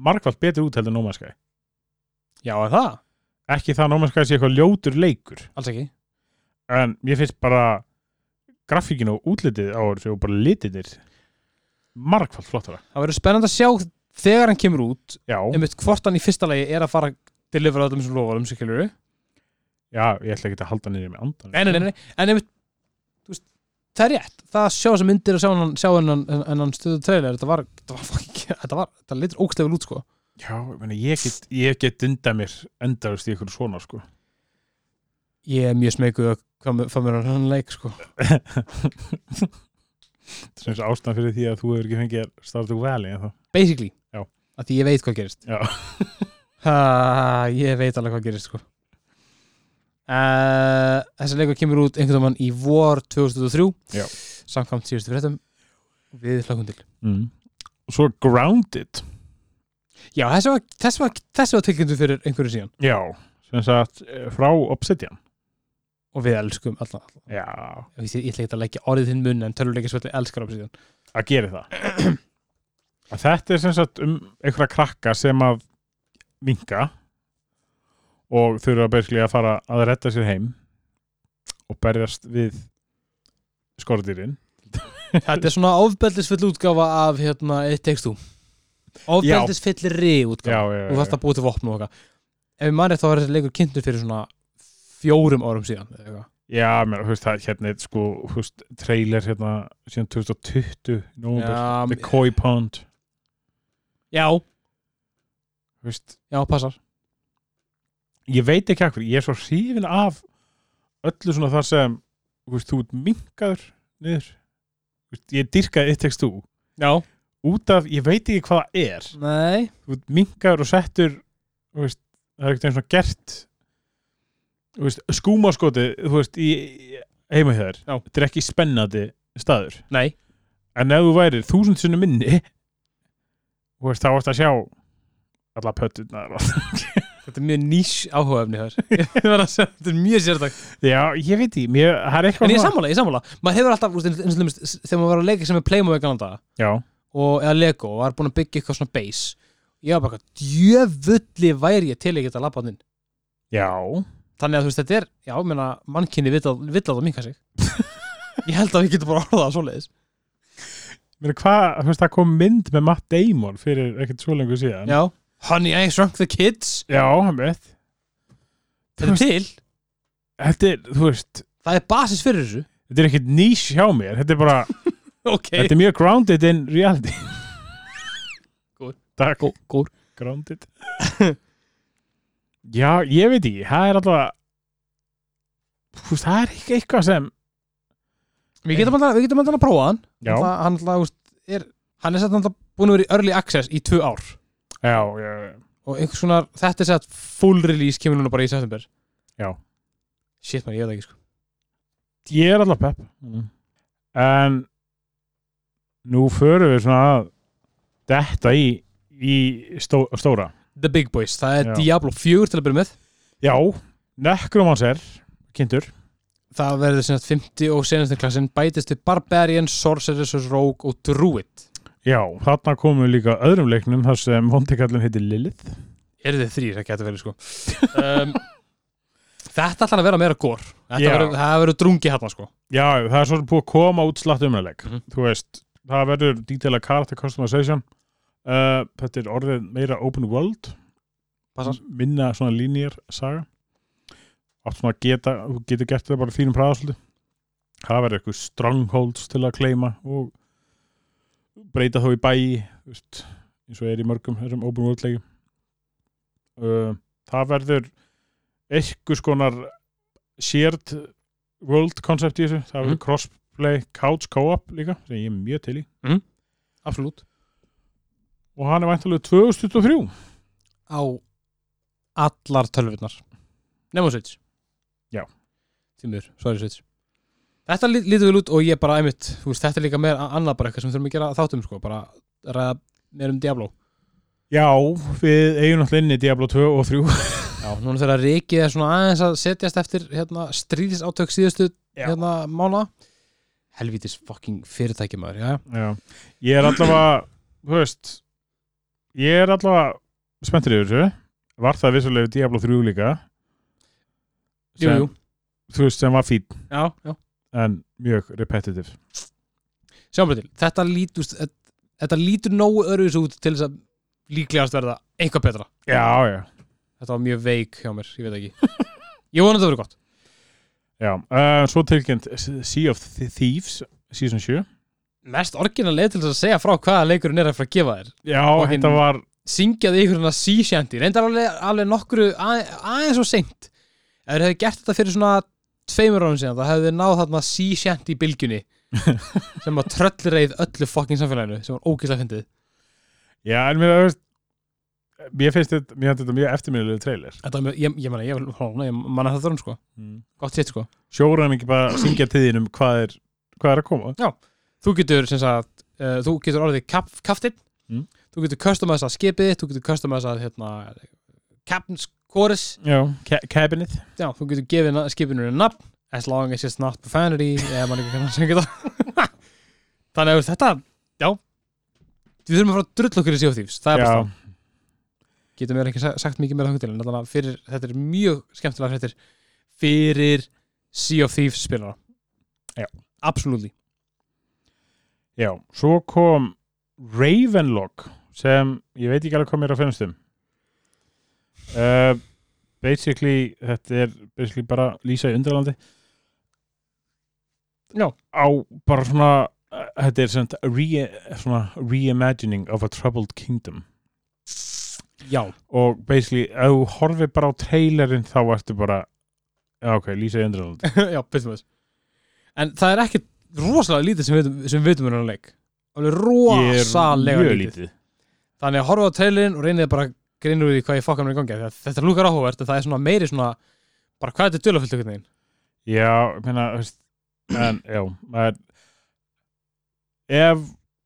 S2: margfald betur út heldur en No Man's Sky
S1: Já, er það?
S2: ekki það að No Man's Sky sé eitthvað ljótur leikur
S1: Alls ekki
S2: en mér finnst bara grafíkin og útlitið á þessu og bara litinir margfald flottara
S1: Það verður spennandi að sjá þegar hann kemur út
S2: já,
S1: einmitt hvort hann í fyrsta lagi er að fara að delivera öllum sem lofaðum sig kemur
S2: já, ég ætla ekki að halda niður með andan
S1: en, en, en, en einmitt það er rétt, það að sjá þessar myndir og sjá hennan, sjá hennan, hennan stöðu trailer þetta var, þetta var, fucking- þetta var, þetta litur ógstlega út sko
S2: Já, ég, meina, ég get, ég get undað mér endarust í ykkur svona sko.
S1: ég er mjög smeykuð að hvað mér- hvað mér að hann leik sko
S2: sem er ástæðan fyrir því að þú hefur ekki fengið að starta úr veli en þá
S1: basically,
S2: Já.
S1: að því ég veit hvað gerist
S2: Já.
S1: ha, ég veit alveg hvað gerist sko Uh, þessi leikur kemur út einhvern veginn í vor 2003
S2: Já.
S1: samkvæmt síðustu fréttum við hlakum til
S2: mm. og svo Grounded
S1: já, þessi var, þessi var, þessi var tilkynntu fyrir einhverju síðan
S2: já, sem sagt eh, frá Obsidian
S1: og við elskum alla, alla.
S2: já,
S1: Ég, vissi- ég ætla ekki að leggja orðið þinn munn en töluleikisvelli elskar á síðan
S2: að gera það að þetta er sem sagt um einhverja krakka sem að vinka og þurfa basically að fara að redda sér heim og berjast við skorðirinn
S1: þetta er svona ofbeldisfull útgáfa af hérna, eitt tekst þú ofbeldisfullri útgáfa
S2: já, já,
S1: og þú þarft að búið til vopn og eitthvað ef ég mann rétt þá var þessi leikur kynntur fyrir svona fjórum árum síðan eða eitthvað.
S2: já mér, þú veist, það, hérna er sko þú veist, trailer hérna síðan 2020 nómur, The
S1: já,
S2: Koi Pond
S1: já,
S2: þú veist,
S1: já, passar
S2: ég veit ekki akkur, ég er svo hrifin af öllu svona þar sem þú veist, þú ert minkaður niður Þú veist, ég dyrkaði eitt tekst þú
S1: já,
S2: út af, ég veit ekki hvað það er
S1: nei,
S2: þú veist, minkaður og settur þú veist, það er ekkert einn svona gert þú veist, skúmaskoti þú veist, í í- heima hjá þér
S1: Já.
S2: þetta er ekki spennandi staður
S1: nei
S2: en ef þú værir þúsund sinni minni þú veist, þá varst að sjá alla pöttunar
S1: þetta er mjög nýs áhugaefni þar ég var að segja, þetta er mjög sértak
S2: já, ég veit því, mér, það er eitthvað
S1: en ég er
S2: svona-
S1: sammála, ég er sammála, maður hefur alltaf úst, eins, eins, og lemist, þegar maður var að leika sem er Playmobil galanda
S2: já,
S1: og eða Lego og var búin að byggja eitthvað svona base ég var bara eitthvað, djöfulli væri ég til ég geta labbaðinn
S2: já
S1: þannig að þú veist þetta er, já, ég meina mannkinni vill að vill að það minka sig ég held að við getum bara orðað það svoleiðis
S2: Mér hvað, þú veist, það kom mynd með Matt Damon fyrir ekkert svo lengur síðan.
S1: Já Honey, I shrunk the kids
S2: Já, hann veit.
S1: Þetta er til
S2: Þetta er, þú veist,
S1: Það er basis fyrir þessu
S2: þetta er ekkert nýs hjá mér. Þetta er bara,
S1: Ok
S2: þetta er mjög grounded in reality.
S1: Góð.
S2: Takk.
S1: Gó- góð.
S2: Grounded. Já, ég veit ekki, það er alltaf, þú veist, það er ekki eitthvað sem,
S1: Við getum alltaf Við getum alltaf að prófa hann
S2: já,
S1: Það, Hann alltaf úst, er Hann er satt alltaf búin að vera í early access í tvö ár
S2: já, já, já.
S1: Og einhvers konar Þetta er satt full release Kemur núna bara í september
S2: Já.
S1: Shit man, ég veit það ekki sko
S2: ég er alltaf pepp. En nú förum við svona að detta í, í stó, stóra.
S1: The Big Boys Það er
S2: Já.
S1: Diablo 4 til að byrja með
S2: Já, Necromancer kynntur,
S1: Það verður sem sagt 50 og senastir klassin Bætist við Barbarian, Sorceress, Rogue og Druid
S2: já, þarna komu líka öðrum leiknum þar sem vondikallin heitir Lilith
S1: Eru þið þrýr, það getur verið sko um, Þetta ætlar að vera meira gór Þetta
S2: Já.
S1: verður- Það verður drungi hérna sko
S2: Já, það er svo sem búið að koma út slatt umleik
S1: Mhm.
S2: þú veist, það verður detaila character customization uh, þetta er orðið meira open world
S1: Passar.
S2: minna svona linear saga átt svona að geta, þú getur gert það bara þínum præðasldi það verður eitthvað strongholds til að kleima og breyta þá í bæi þú veist, eins og er í mörgum þessum open world leikum uh, það verður eitthvað konar shared world concept í þessu, það verður
S1: Mhm.
S2: crossplay couch co-op líka, sem ég er mjög til í
S1: Absolutt
S2: og hann er væntalega 2023
S1: Á allar tölvurnar Nefnum Switch
S2: Já.
S1: Tímur, sorry Switch Þetta lí- lítur vel út og ég bara æmitt þú veist, Þetta er líka meira annað bara eitthvað sem við þurfum að gera þáttum sko Bara ræða meira um Diablo
S2: Já, við eigum náttúrulega inn í Diablo 2 og 3
S1: Já, núna þegar Rikið er svona aðeins að setjast eftir hérna, stríðisátök síðustu
S2: Já.
S1: hérna, mána Helvítis fucking fyrirtækjumöður, já
S2: Já. Ég er allavega þú veist ég er allavega spenntur yfir þessu var það vissulega við Diablo 3 líka
S1: Jú, jú,
S2: þú veist sem var fín
S1: já, já
S2: en mjög repetitive
S1: Sjáum við til, þetta lítur þetta lítur nógu öruðis út til þess að líklegast verða eitthvað betra
S2: Já, já
S1: Þetta var mjög veik hjá mér, ég veit ekki Ég vona þetta verið gott
S2: Já, uh, svo tilkynnt Sea of Thieves, season 7
S1: Mest orginal leið til þess að segja frá hvaða leikurinn er að fara að gefa þér
S2: Já,
S1: Fucking-
S2: þetta var
S1: Syngjaði ykkur hana sea shanty Reyndar alveg, alveg nokkru að, aðeins og seint Ef þeir hefði gert þetta fyrir svona tveimur árum síðan Það hefði þeir náð þarna sea shanty bylgjunni Sem að tröllreið öllu fucking samfélaginu Sem var ógeðslega fyndið
S2: Já, en mér, þú veist, mér finnst þetta, mér finnst þetta mjög eftirminnilegu trailer
S1: Þetta, var mjög- ég, ég, man, ég, ég, ég manna það þörn sko
S2: mm.
S1: Gott sétt sko
S2: Sjóran ekki bara að syngja tíðin um hvað er, hvað er að koma
S1: þú getur sem sagt uh, þú getur orðið kap, kaftinn
S2: Mm.
S1: þú getur customizað skipið þú getur customizað hérna captain's chorus
S2: Já, ca cabinet
S1: já, þú getur gefið na- skipinu einu nafn as long as it's not profanity eða mann ekki kannan segja það þannig að þetta, já við þurfum að fara að drull okkur í sjóþýfs það er bara
S2: Já,
S1: það getum mér ekki sa- sagt mikið meira þangað til en allan að fyrir, þetta er mjög skemmtilega fréttir fyrir Sea of Thieves spilara
S2: Já.
S1: absolutely
S2: já, svo kom Ravenlock sem ég veit ekki alveg hvað mér er að finnast um uh, Basically, þetta er basically bara lýsa í undralandi
S1: Já.
S2: Á bara svona, uh, þetta er svona re, svona reimagining of a troubled kingdom
S1: já,
S2: og basically, ef þú horfir bara á trailerinn þá ertu bara já, ok, lýsa í undralandi
S1: já, byrjum við en það er ekkert rosalega lítið sem við vitum- sem við vitum um hennar leik alveg
S2: Ég er
S1: rosalega
S2: mjög
S1: lítið. þannig að horfa á trailerin og reynið bara að greinir úr því hvað ég fokkar mér í gangi Því að þetta lúkar áhugavert en það er svona meiri svona bara hvað þetta er dölafyllt ykkur neginn
S2: Já, ég meina, þú veist, en, já, maður, ef,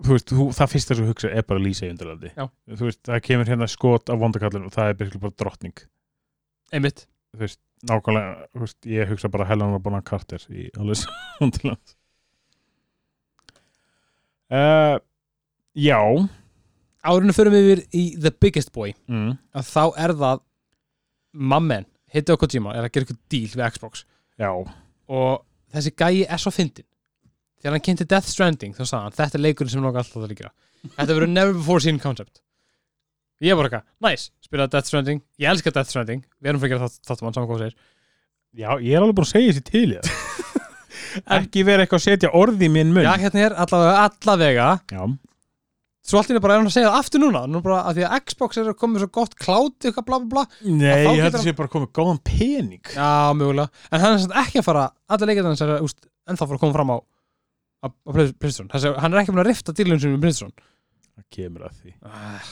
S2: þú veist, þú, það fyrsta sem þú hugsa er bara Lísa í undirlandi.
S1: Já.
S2: Þú veist, það kemur hérna skot af vondakallinu og það er byrjulega bara drottning.
S1: einmitt,
S2: Nákvæmlega, þú veist, ég hugsa bara Helena Bonham Carter í alveg undirland. Uh, já,
S1: árinu förum við yfir í The Biggest Boy
S2: mm,
S1: að þá er það mammen, Hideo Kojima er að gera ykkur deal við Xbox
S2: já,
S1: og þessi gæi er svo fyndin þegar hann kynnti Death Stranding þá sagði hann þetta er leikurinn sem mig langar alltaf að líka þetta verður never before seen concept ég var eitthvað, nice, spilaði Death Stranding ég elska Death Stranding, við erum fyrir að gera þáttum hann saman hvað þú segir
S2: já, ég er alveg búin að segja þessi til ég. Ekki vera eitthvað að setja orði í minn mun.
S1: já, hérna er allavega, allavega
S2: já.
S1: svo allt í einu bara er hann að segja það aftur núna nú bara að því að Xbox er að koma með svo gott cloud eitthvað bla bla bla,
S2: Nei,
S1: Að þá
S2: ég held
S1: getur
S2: að sé bara komið góðan pening.
S1: já, mögulega en hann er samt ekki að fara, allir leikir þannig að úst, ennþá fara að koma fram á á, á Princeton, hann er ekki búin að rifta dílun sem við Princeton
S2: Það kemur að því.
S1: Ah.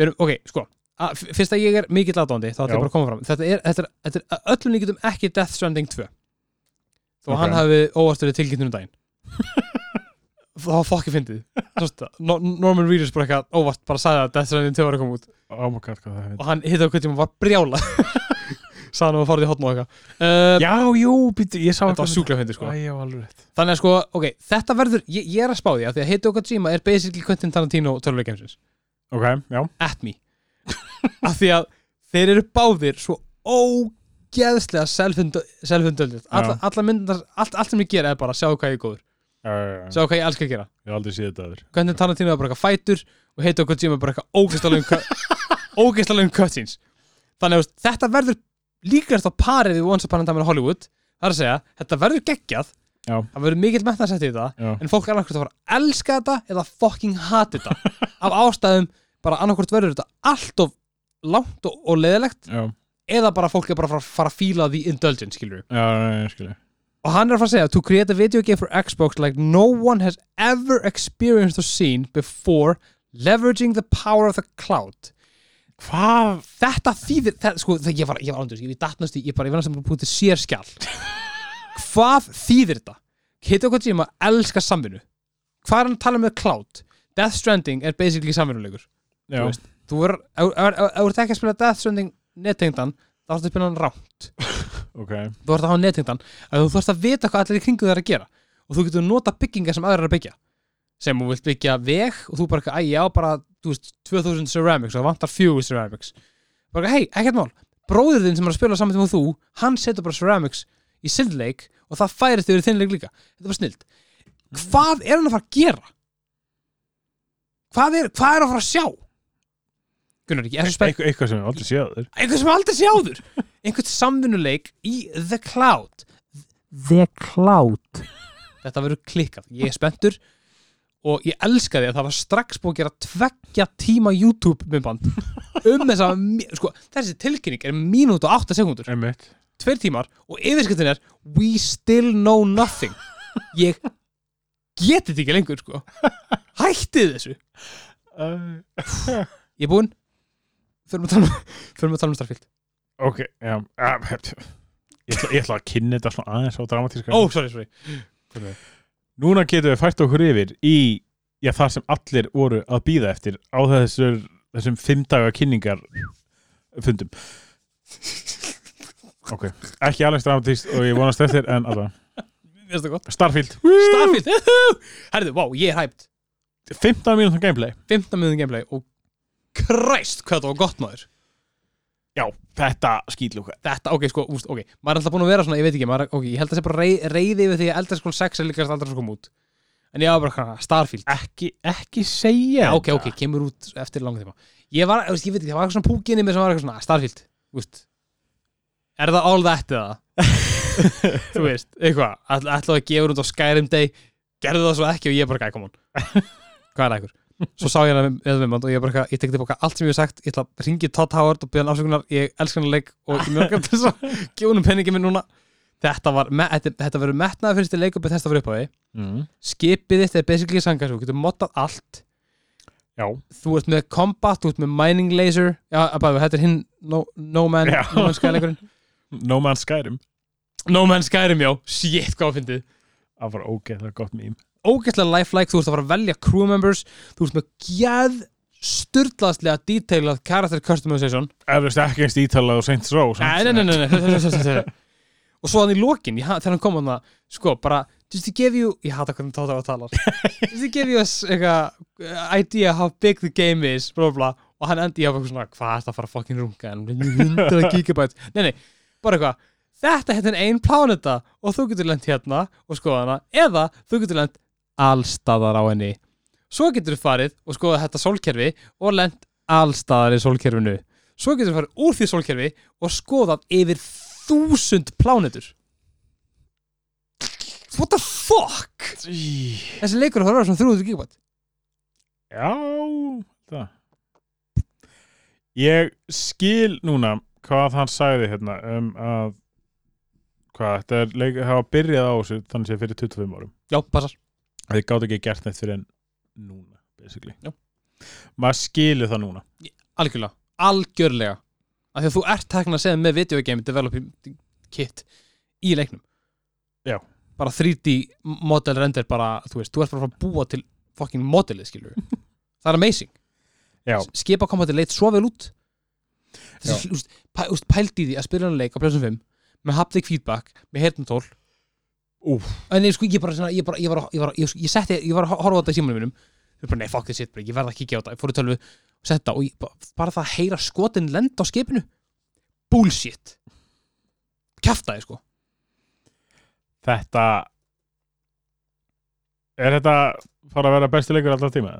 S1: Við erum, ok, sko að- f- Fyrst að ég er mikill aðdóndi þá ætla ég
S2: Já.
S1: bara að koma fram Þetta er, þetta er, þetta er að öllum líkjum ekki Death Stranding 2 Þó
S2: Ok.
S1: hann hafi óvasturðið tilkynntunum um daginn Það var fokki fyndið Sástu það? No, Norman Reedus bara eitthvað óvart bara sagði að Death Stranding 2 var að koma út
S2: Oh my god, hvað það hefði
S1: og hann hitta okkur tíma var brjála sagði hann að farið í hotn og eitthvað uh,
S2: Já, jú, býttu, ég sá
S1: Þetta var sjúklega fyndið sko
S2: Æ, já, alveg rétt
S1: Þannig að sko, ok, þetta verður, ég, ég er að spá því að því að Hideo Kojima er basically Quentin Tarantino tölvuleikjumsins
S2: Ok, já,
S1: at me af því að þeir eru báðir svo ógeðslega selfundöldið alla,
S2: Já.
S1: alla myndar, allt, allt sem ég gera er bara sjáu hvað ég er góður,
S2: já, já, já.
S1: sjáu hvað ég elska að gera
S2: Ég hef aldrei séð þetta aður
S1: hvernig Tarantino er bara eitthvað fætur og heita okkur tíma bara eitthvað ógeðslega ógeðslega cutscenes þannig að veist, þetta verður líkast á parið við Once Upon a Time in Hollywood það er að segja, þetta verður geggjað
S2: Já.
S1: það verður mikill metnarsætt í þetta
S2: Já,
S1: en fólk er annarkvort að fara að elska þetta eða fucking hati þetta af ástæðum bara annarkvort verður þetta allt of langt og, og leðilegt
S2: já,
S1: eða bara fólk er bara að fara, fara að fíla the indulgence skilur
S2: já, já, já, skilja
S1: og hann er að fara að segja to create a video game for Xbox like no one has ever experienced or seen before leveraging the power of the cloud
S2: Hvað?
S1: þetta þýðir það, sko, það, ég var, ég var ándur, ég datnast í ég bara, ég var næstum búin að búin til sérskjál hvað þýðir þetta? Hideo Kojima elskar samvinnu hvað er hann að tala um með cloud? Death Stranding er basically samvinnuleikur
S2: Já,
S1: Þú veist, þú er, ef ef- ef- ef þú ert ekki að spila Death Stranding nettengdan, þá ertu að spila hann rámt
S2: ok
S1: þú ert að hafa nettengdan, að þú þarfst að vita hvað allir í kringu þeir að gera og þú getur nota byggingar sem aðrar er að byggja sem þú vilt byggja veg og þú bara, eitthvað, æ, ég á bara þú veist, 2000 ceramics og það vantar fjögur ceramics bara, hei, ekkert mál bróðir þinn sem er að spila saman tíma og þú hann setur bara ceramics í sindleik og það færist yfir í þinnleik líka þetta er bara snilt hvað er hann að fara að gera? hvað er, hvað er hann að fara að sjá? Gunnar, ég er svo spennt
S2: Eitthvað- Eitthvað sem ég hef aldrei séð aður
S1: einhvern sem aldrei sé áður einhvern samvinnuleik í The Cloud
S3: The Cloud
S1: þetta verður klikkað, ég er spenntur og ég elska því að það var strax búið að gera tveggja tíma YouTube myndband um þessa, mi- sko, þessi tilkynning er mínútu og 8 sekundur,
S2: Einmitt.
S1: tveir tímar og yfirskiptin er We still know nothing ég geti þetta ekki lengur, sko hættið þessu,
S2: Uh,
S1: ég er búinn förum að tala um, förum að tala um Starfield
S2: ok, já, uh, ég, ætla, ég ætla að kynna þetta svona aðeins á dramatíska.
S1: ó, oh, sorry, sorry
S2: Núna getum við fært okkur yfir í já, það sem allir voru að býða eftir á þessur, þessum fimm daga kynningar fundum. Ok, ekki alveg dramatíst og ég vonast eftir en alveg.
S1: Mér finnst það gott.
S2: Starfield,
S1: Starfield, herðu, vá, ég er hæpt
S2: 15 mínútur gameplay.
S1: 15 minútur gameplay og kræst hvað þetta var gott maður
S2: Já, þetta skýtlúka.
S1: þetta, ok, sko, úst, ok, maður er alltaf búin að vera svona, ég veit ekki, maður, er- ok, ég held að það sé bara rei- reiði yfir því að Elder Scrolls 6 er líkast aldrei að koma út en ég var bara, hana, Starfield
S2: Ekki, ekki segja.
S1: já, ok,
S2: þetta.
S1: ok, kemur út eftir langa tíma ég var, þú veist, ég veit ekki, það var eitthvað svona púkinni með sem var eitthvað svona, Starfield, úst er það all that eða? þú veist, eitthvað ætla ætlaðu að gefa út á Skyrim Day gerðu það svo ekki og ég bara, gæ, kom on hvað er það ykkur? Svo sá ég hana með viðmönd og ég bara, eitthvað- ég tekti bóka allt sem ég hef sagt ég ætla að ringi Todd Howard og byrja hann afsökunar ég elskar hann leik og ég mjög gæmt þess að gefa hann penningi minn núna þetta var, me- þetta, þetta verður metnaði fyrir þetta leikupið þess að fyrir upphafi
S2: Mm.
S1: skipið þitt er basically sangar þú getur moddað allt
S2: Já,
S1: þú ert með combat, þú ert með mining laser já, bara, þetta er hinn no, no man
S2: Já.
S1: no man skæleikurinn
S2: No Man's Skyrim.
S1: no man skærim, já, shit, hvað að fyndið
S2: Það var ok, það er gott mým.
S1: ógæslega lifelike, þú ert að fara að velja crew members þú ert með gæð styrlaðslega detailað character customization
S2: Eflust ekki einst ítalað og seint svo.
S1: Nei, nei, nei, nei, nei, nei, nei, nei. Og svo hann í lokin, ég, ha- þegar hann kom hann að, sko, bara, just to give you, ég hata hvernig Tóta var að tala, just to give you a s- eitthvað, uh, idea how big the game is, bla, bla, bla, og hann endi á eitthvað svona, hvað er það að fara að fucking runga, en 100 gigabytes, nei, nei, bara eitthvað, þetta hérna er ein pláneta og þú getur lent hérna og skoða hana, eða þú getur lent allstaðar á henni. Svo getur þú farið og skoða þetta sólkerfi og lent allstaðar í sólkerfinu. Svo getur þú farið úr því sólkerfi og skoðað yfir þúsund plánetur What the fuck?
S2: nei.
S1: Þessi leikur horfður svona 300 gigabyte
S2: Já, það. Ég skil núna hvað hann sagði hérna um að hvað, þetta er leik, hafa byrjað á þessu þannig sé fyrir 25 árum.
S1: Já, passar
S2: Þið gátt ekki gert neitt fyrir en núna, basically.
S1: Já.
S2: Maður skilur það núna.
S1: Algjörlega Algjörlega Af því að þú ert tekna að segja með video game developing kit í leiknum
S2: Já.
S1: Bara 3D model render bara, þú veist, þú ert bara að fara að búa til fucking modelið, skilur við Það er amazing
S2: Já,
S1: skipakompati leit svo vel út
S2: Já.
S1: þessi, úst, pæ, úst, pældi í því að spila hann leik á plössum 5 með haptic feedback, með heyrnatól
S2: Úff.
S1: en nei, sko, ég bara, svona, ég bara, ég bara, ég bara ég, ég setti, ég var að horfa á þetta í símanum mínum ég bara, nei, fuck this shit, bara, ég verð að kíkja á þetta ég fór í tölvu og setta og ég, bara, bara það að heyra skotin lenda á skipinu bullshit kjaftaði, sko
S2: þetta er þetta fara að vera besti leikur alltaf tíma?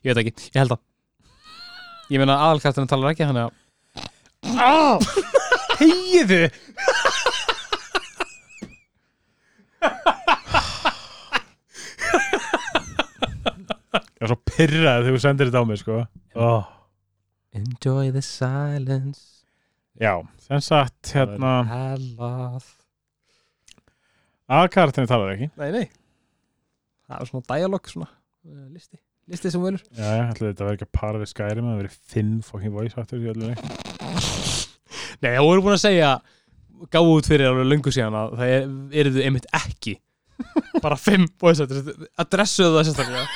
S1: ég veit ekki, ég held að ég meina aðalkasturinn talar ekki, hann að
S2: Ah! Hegiðu! Ég er svo pyrrað þegar þú sendir þetta á mig, sko. Oh.
S1: enjoy the silence
S2: Já, sem sagt, hérna,
S1: hellað
S2: aðkartinni talar ekki.
S1: Nei, nei Það er svona dialog, svona eh, listi Listi sem völur
S2: Já, já, ætli þetta verði ekki að para við skæri með að verið finn fucking voice actor í öllu leik.
S1: Nei, það voru búin að segja gáðu út fyrir alveg löngu síðan að það er, eru þau einmitt ekki bara fimm voice actors adressuðu það sérstaklega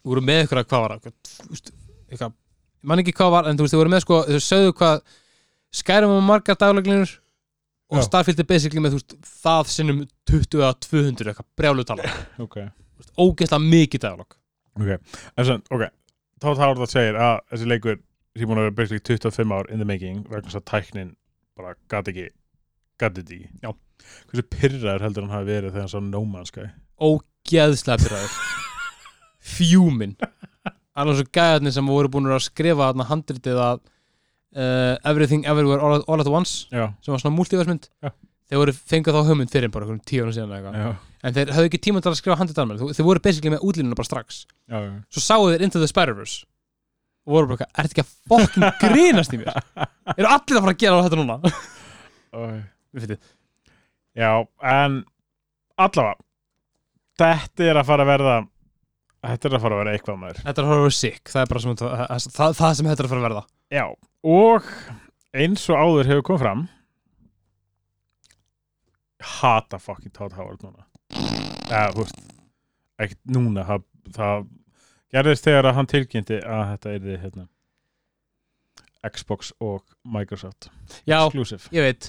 S1: Þú voru með ykkur að hvað var eitthvað, þú veist, eitthvað, ég man ekki hvað var en þú veist, þau voru með sko, þau sögðu hvað skærum á margar dagleglinur og
S2: Já.
S1: Starfield er basically með þú veist, það sinnum 20 að 200 eitthvað brjálutala,
S2: Ok.
S1: ógeðslega mikið dagalog
S2: Ok, en sem, ok, þá þá er það að segja að þessi leikur sem búin að vera basically 25 ár in the making vegna þess að tæknin bara gati ekki gati þetta ekki.
S1: Já.
S2: Hversu pyrraður heldur hann hafi verið þegar hann sá No Man's Sky?
S1: ógeðslega pyrraður fjúmin alveg svo gæðarnir sem voru búin að skrifa þarna handritið að uh, Everything Everywhere All at, All at Once
S2: já,
S1: sem var svona multiversmynd
S2: Já.
S1: þeir voru fengið þá hugmynd fyrir bara einhverjum tíu árum síðan eða eitthvað
S2: já,
S1: en þeir höfðu ekki tíma til að skrifa handið almenn þeir voru basically með útlínuna bara strax
S2: já, já.
S1: svo sáu þeir Into the Spider-Verse og voru bara, er þetta ekki að fokkin grínast í mér eru allir að fara að gera þetta núna
S2: Æ.
S1: Við fyndið.
S2: Já, en allavega þetta er að fara að verða þetta er að fara að verða eitthvað maður
S1: þetta er að fara að vera sick það er bara sem, það, það, það sem þetta er að fara að verða
S2: Já, og eins og áður hefur komið fram hata fucking Todd Howard núna eða, þú veist ekkert núna, það, það gerðist þegar að hann tilkynnti að þetta er hérna Xbox og Microsoft
S1: já,
S2: exclusive
S1: ég veit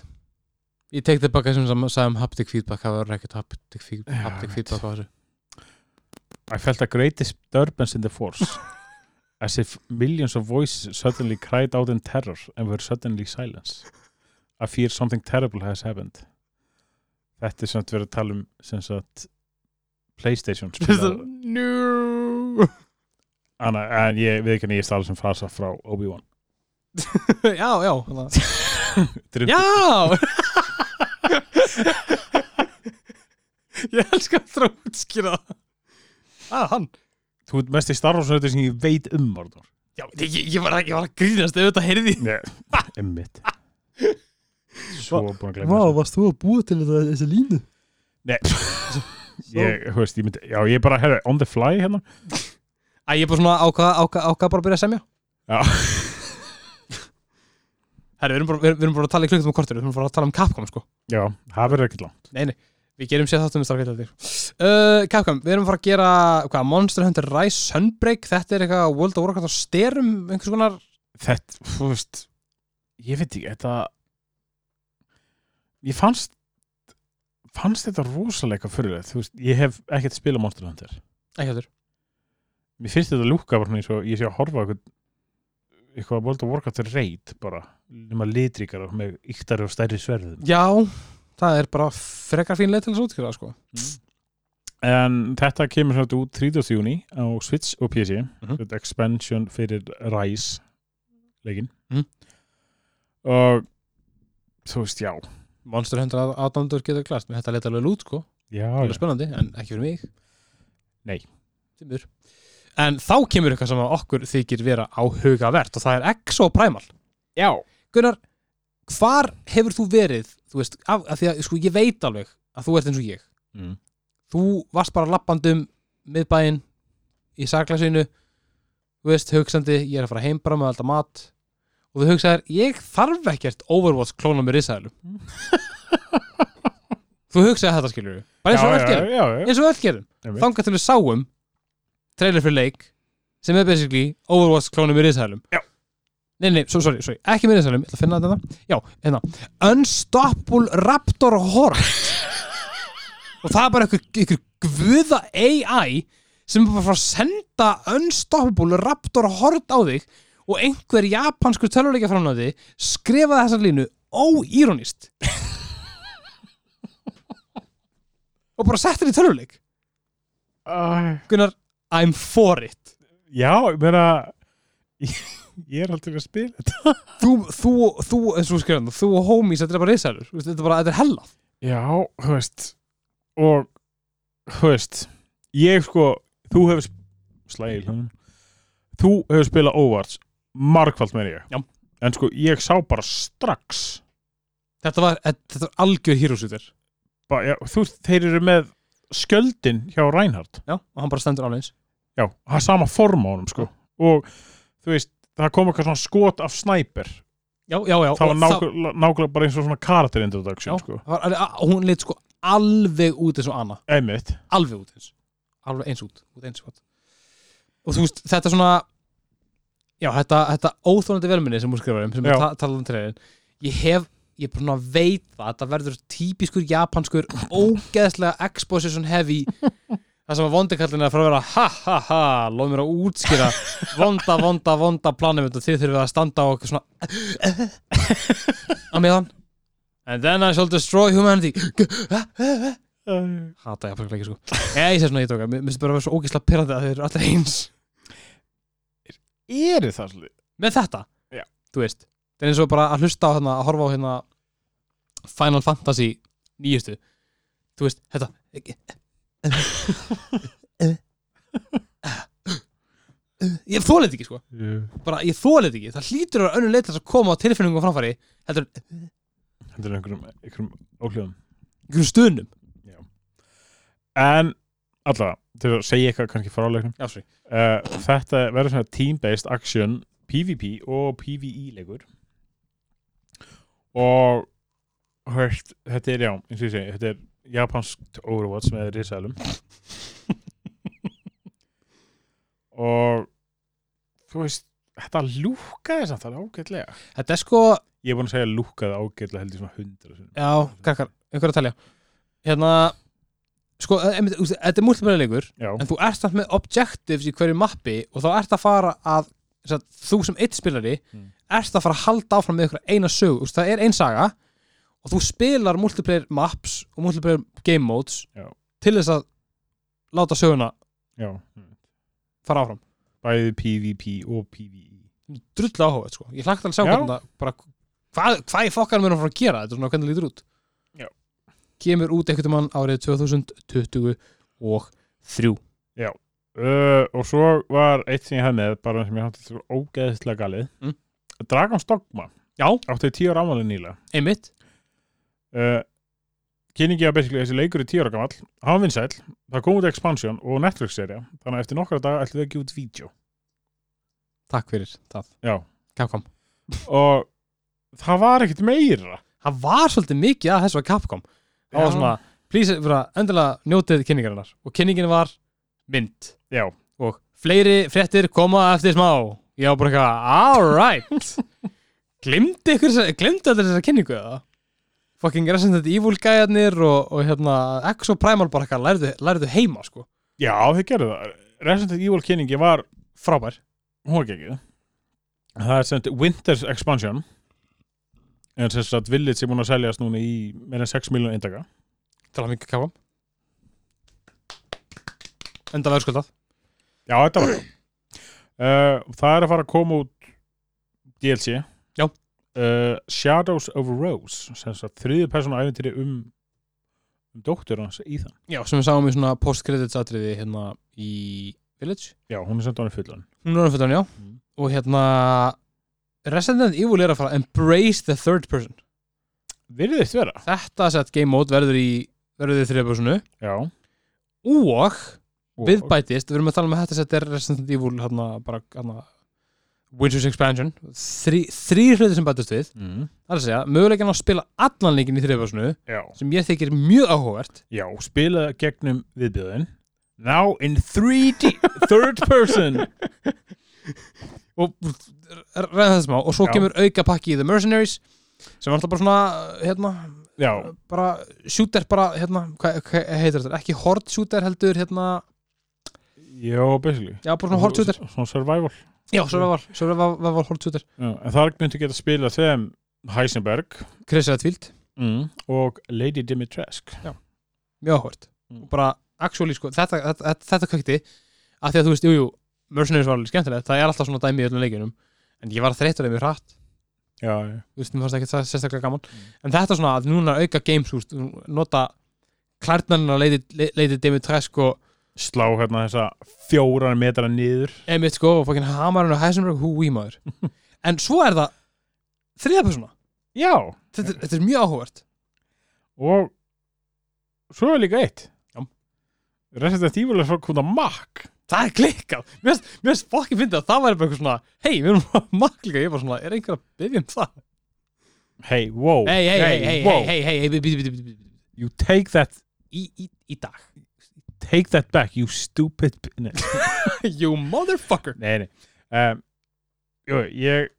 S1: ég tek tilbaka sem sam- sagði um haptic feedback það var ekkert haptic, feed,
S2: Já,
S1: haptic
S2: ég veit.
S1: feedback á þessu
S2: I felt a great disturbance in the force as if millions of voices suddenly cried out in terror and were suddenly silenced. I fear something terrible has happened. Þetta er samt verið að tala um sem sagt Playstation spilaðara.
S1: no
S2: Anna, en ég veit ekki að ég stala sem frasa frá Obi-Wan.
S1: já, já hana.
S2: Þetta er-
S1: já ég elskar að þrá útskýra það. ah, hann
S2: Þú ert mest í Star Wars nöður sem ég veit um Mordor.
S1: já, ég, ég, var, að- ég var að grínast ef þetta heyrði
S2: Nei, emmitt. Svo búin að glemja
S1: varst þú að búa til þetta, þessi línu
S2: Nei, ég, þú veist, ég myndi, já, ég bara, herra, on the fly hérna.
S1: Æ, ég er bara svona ákvað ákvað- ákvað bara að byrja að semja
S2: Já.
S1: Herri, við erum bara, við erum- við erum bara að tala í klukkutum og kortir Við erum bara að tala um Capcom, sko
S2: Já, það verður ekkert langt.
S1: Við gerum sér þáttum við starfkvæðaldir uh, Capcom, við erum að fara að gera hvað, Monster Hunter Rise Sunbreak Þetta er eitthvað World of Warcraft á styrum einhvers konar
S2: þetta, þú veist ég veit ekki, þetta ég fannst fannst þetta rosalega fyrirlega, þú veist, ég hef ekkert spilað Monster Hunter,
S1: Ekki hættur
S2: mér finnst þetta lúka bara svona eins og ég sé að horfa á eitthvað eitthvað World of Warcraft reyt bara nema litríkara með yktari og stærri sverðum
S1: Já, það er bara frekar fín leið til þess að útkjöra sko.
S2: en þetta kemur svona út 30. júni á Switch og PC
S1: Mhm.
S2: þetta expansion fyrir Rise leikin
S1: Mhm.
S2: og þú veist, já
S1: Monster Hunter aðdándur getur klart Mér þetta leita alveg lút, sko
S2: já,
S1: Það er spennandi, en ekki fyrir mig
S2: Nei.
S1: Tímur En þá kemur eitthvað sem að okkur þykir vera áhugavert og það er Exo Primal
S2: já.
S1: Gunnar, hvar hefur þú verið þú veist, af, af því að sko, ég veit alveg að þú ert eins og ég
S2: Mm.
S1: þú varst bara lappandum miðbæinn í saklæsinu þú veist, hugsandi, ég er að fara heim bara með alltaf mat og þú hugsaðir, ég þarf ekkert Overwatch klóna með risaðilum þú hugsaði þetta skilur við bara eins og öll gerum,
S2: já, já, já.
S1: eins og öll gerum
S2: Einmitt.
S1: þangað til við sáum trailer fyrir leik sem er basically Overwatch klónum í riðsælum
S2: Já.
S1: Nei, nei, so, sorry, sorry, ekki með riðsælum, ég ætla að finna þetta Já, hérna, Unstoppable Raptor Horde Og það er bara einhver, einhver guða AI sem er bara að fara að senda Unstoppable Raptor Horde á þig og einhver japanskur töluleika framnáði skrifaði þessa línu óíronist og bara setti henni í töluleik
S2: Æ,
S1: Gunnar, I'm for it
S2: já, ég meina ég, ég er aldrei að spila þetta
S1: Þú, þú, þú, eins og skrifan Þú og homies, þetta er bara reisælur Þetta er bara, þetta er hellað
S2: já, þú veist og, þú veist ég sko, þú hefur slæði hlunum þú hefur spilað óvart margfald með ég
S1: Já.
S2: en sko, ég sá bara strax
S1: Þetta var, þetta er algjör hýrúsutir
S2: bara, já, þú, þeir eru með skjöldin hjá Reinhardt
S1: Já, og hann bara stendur afleins
S2: Já, það er sama form á honum sko og þú veist, það kom eitthvað svona skot af snæper
S1: Já, já, já
S2: það var
S1: og
S2: nákvæmlega, nákvæmlega bara eins og svona karakter
S1: Já,
S2: introduction sko,
S1: það var, alveg- að- hún lit sko alveg út eins og Anna
S2: einmitt
S1: Alveg út eins Alveg eins út, út eins út Og þú veist, þetta svona Já, þetta, þetta óþólandi velminni sem hún skrifar um sem
S2: Já.
S1: er ta talað um treyðin Ég hef, ég bara svona veit það þetta verður típiskur japanskur ógeðslega exposition heavy það sem að vondikallin er að fara að vera ha ha ha, lof mér að útskýra vonda, vonda, vonda planum og þið þurfum að standa á okkur svona á meðan and then I shall destroy humanity hata ég ekki sko ég, ég sé svona ég tóka, mér mér finnst bara að vera svo ógeðslega pyrrandi að þeir eru allir eins
S2: Eru það svolítið?
S1: með þetta,
S2: Já.
S1: þú veist Það er eins og bara að hlusta á hérna, að horfa á hérna Final Fantasy nýjustu Þú veist, þetta Ég þóla þetta ekki sko
S2: Þetta
S1: bara, Ég þóla þetta ekki, það hlýtur að önnur leið til þess að koma á tilfinningum á framfæri heldur en
S2: er einhverjum, einhverjum óhljóðum
S1: einhverjum stuðnum
S2: En allavega, til að segja eitthvað kannski frá leiknum
S1: Já, sorry
S2: uh, Þetta verður svona team-based action PvP og PvE leikur og hörst, þetta er já, eins og ég segi, þetta er japanskt Overwatch með risalum og þú veist, þetta lúkaði samt alveg ágætlega
S1: Þetta er sko,
S2: ég er búin að segja lúkaði ágætlega held ég svona hundra sinni
S1: já, krakkar, einhverju að telja Hérna Sko, einmitt, þú veist, þetta er múltiplæðilegur
S2: Já,
S1: en þú ert samt með objectives í hverju mappi og þá ert að fara að sem sagt, þú sem eitt spilari
S2: Mm.
S1: ert að fara að halda áfram með ykkur eina sög Úst, það er ein saga og þú spilar multiplayer maps og multiplayer game modes
S2: Já.
S1: til þess að láta söguna
S2: já, hm.
S1: fara áfram
S2: bæði PvP og E. PvE
S1: drullu áhuga, sko. ég hlagt alveg að sjá
S2: Já.
S1: hvernig það bara, hvað, hvað í fokkanum erum að fara að gera þetta er svona hvernig það lítur út
S2: Já.
S1: kemur út einhvern mann árið 2023
S2: uh, og svo var eitt sem ég hef með bara sem ég hætti svo ógeðislega galið
S1: Mm.
S2: Dragon's Dogma
S1: Já.
S2: átti tíu ára ámálið nýla
S1: einmitt,
S2: uh, kynningi að basically þessi leikur er tíu ára gamall hann var vinsæll, það kom út expansion og Netflix-serja, þannig að eftir nokkra dag ætlum við að gefa út vídeo
S1: takk fyrir það,
S2: Já.
S1: Capcom
S2: og það var ekkert meira
S1: það var svolítið mikið að þessu að Capcom það var
S2: Já.
S1: svona, please, bara, endilega njótið kynningarinnar og kynningin var mynd
S2: já,
S1: og fleiri fréttir koma eftir smá ég var bara eitthvað, alright glimdi ykkur, glimdi allir þessar kynningu eða fucking Resident Evil gæjarnir og, og hérna, Exo Primal bara eitthvað lærðu, lærðu heima sko,
S2: já þau gerðu það Resident Evil kynningi var,
S1: frábær
S2: hún var ekki það er sem sagt Winter's Expansion en sem sagt Village sem búin að seljast núna í meira en 6 miljónu eindaka
S1: til að mikið Capcom enda verðskuldað
S2: Já, þetta var uh, Það er að fara að koma út DLC
S1: Já.
S2: uh, Shadows of Rose sem sagt þriðið persónu æfintýri um um dóttur hans Ethan
S1: já, sem við sáum í svona post-credits atriði hérna í Village
S2: Já, hún er sendt á hann í fullan
S1: Hún er orðinfötan, já
S2: Mm.
S1: Og hérna Resident Evil er að fara að Embrace the third person
S2: Virðist vera
S1: Þetta sett game mode verður í Verður í þriða personu
S2: Já
S1: Og
S2: Og-
S1: við bætist Við erum að tala um að þetta sett er Resident Evil hérna bara hérna Winter's Expansion Þrý, þrý hluti sem bætist við
S2: mm,
S1: Það er að segja Möguleikin á að spila allan leikin í þriða personu
S2: Já,
S1: Sem ég þykir mjög áhugavert
S2: já spila gegnum viðbjöðin Now in 3D Third person
S1: Og ræða þetta smá Og svo
S2: Já.
S1: kemur auka pakki í The Mercenaries Sem er alltaf bara svona Hérna
S2: Já,
S1: bara shooter bara hérna, hvað hva heitir þetta, ekki horde shooter heldur hérna,
S2: já, basically
S1: já bara svona horde shooter
S2: Svona survival
S1: já, survival, survival horde shooter
S2: já, En það er myndi geta að spila þeim Heisenberg
S1: Chris Redfield,
S2: mm. og Lady Dimitrescu
S1: mjög hort
S2: Mm.
S1: og bara actually sko, þetta, þetta, þetta, þetta kveikti af því að þú veist, jújú jú, Mercenaries var alveg skemmtilegt, það er alltaf svona dæmi í öllum leikinum en ég var þreytur eða mjög hratt
S2: Já, já
S1: þú veist, mér fannst ekki það sérstaklega gaman
S2: Mm.
S1: en þetta svona að núna auka games, þú veist nota klærtnarnir að leiti, leiti Dimitrescu og
S2: slá hérna þessa fjóran metra niður
S1: Emmett sko og fokkin Hamarinn og Heisenberg húi maður en svo er það þriða persóna
S2: já,
S1: þetta, er- þetta er mjög áhugavert
S2: og svo er líka eitt
S1: Já.
S2: Resident Evil er svo komið að makk
S1: það er klikkað, mér finnst- mér finnst fokkin fyndið að það væri bara eitthvað svona hei, við erum að maklika, ég bara svona, er einhver að byggja um það
S2: hei, wow,
S1: hei, hei, hei, hei,
S2: wow.
S1: hei, hei, hei, hei, bíti, bíti, bíti
S2: you take that,
S1: í, í, í dag
S2: take that back you stupid b- nei,
S1: you motherfucker
S2: nei, nei. Um, jú, ég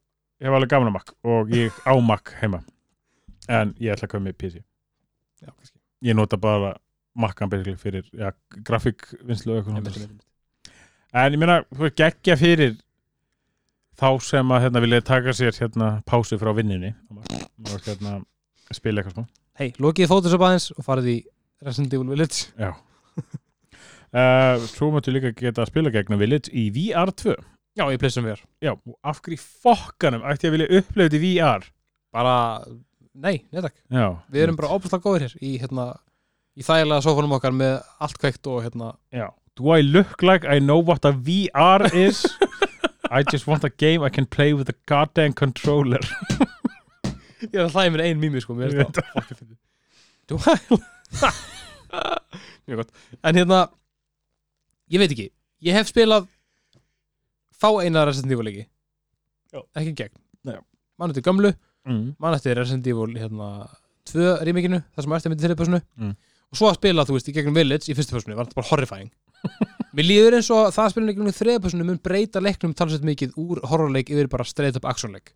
S2: hef alveg gaman að makk og ég á makk heima en ég ætla að koma með PC
S1: Já, kannski.
S2: ég nota bara makkan basically fyrir ja, grafíkvinnslu og
S1: Einmitt,
S2: eitthvað svona.
S1: einmitt.
S2: En ég meina, þú er geggja fyrir þá sem að hérna vilja taka sér hérna pásu frá vinninni og hérna spila eitthvað smá.
S1: hei, lokið Photoshop aðeins og farið í Resident Evil Village
S2: Já. Uh, svo mættu líka geta að spila gegnum Village í VR2
S1: Já, ég plissum VR
S2: Já, og af hverju í fokkanum ætti ég að vilja upplifa þetta í VR?
S1: Bara, nei, nei takk
S2: Já.
S1: Við erum bara óbúslega góðir hér í, hérna, í þægilega sófanum okkar með allt kveikt og hérna
S2: Já. Do I look like I know what a VR is? I just want a game I can play with a goddamn controller.
S1: Ég er að hlæði mér ein mými sko, mér er þetta fokkið fyrir Du Mjög gott En hérna, ég veit ekki Ég hef spilað fá eina Resident Evil leiki
S2: Já.
S1: Ekki í gegn
S2: Nei.
S1: Man eftir gömlu,
S2: Mm.
S1: man eftir Resident Evil hérna, tvö rímikinu, það sem ertu myndi þriðið personu
S2: Mm.
S1: og svo að spila, þú veist, í gegnum Village í fyrstu personu, var þetta bara horrifying Mér líður eins og það að spila í gegnum þriðið personu mun breyta leiknum talsett mikið úr horrorleik yfir bara straight up actionleik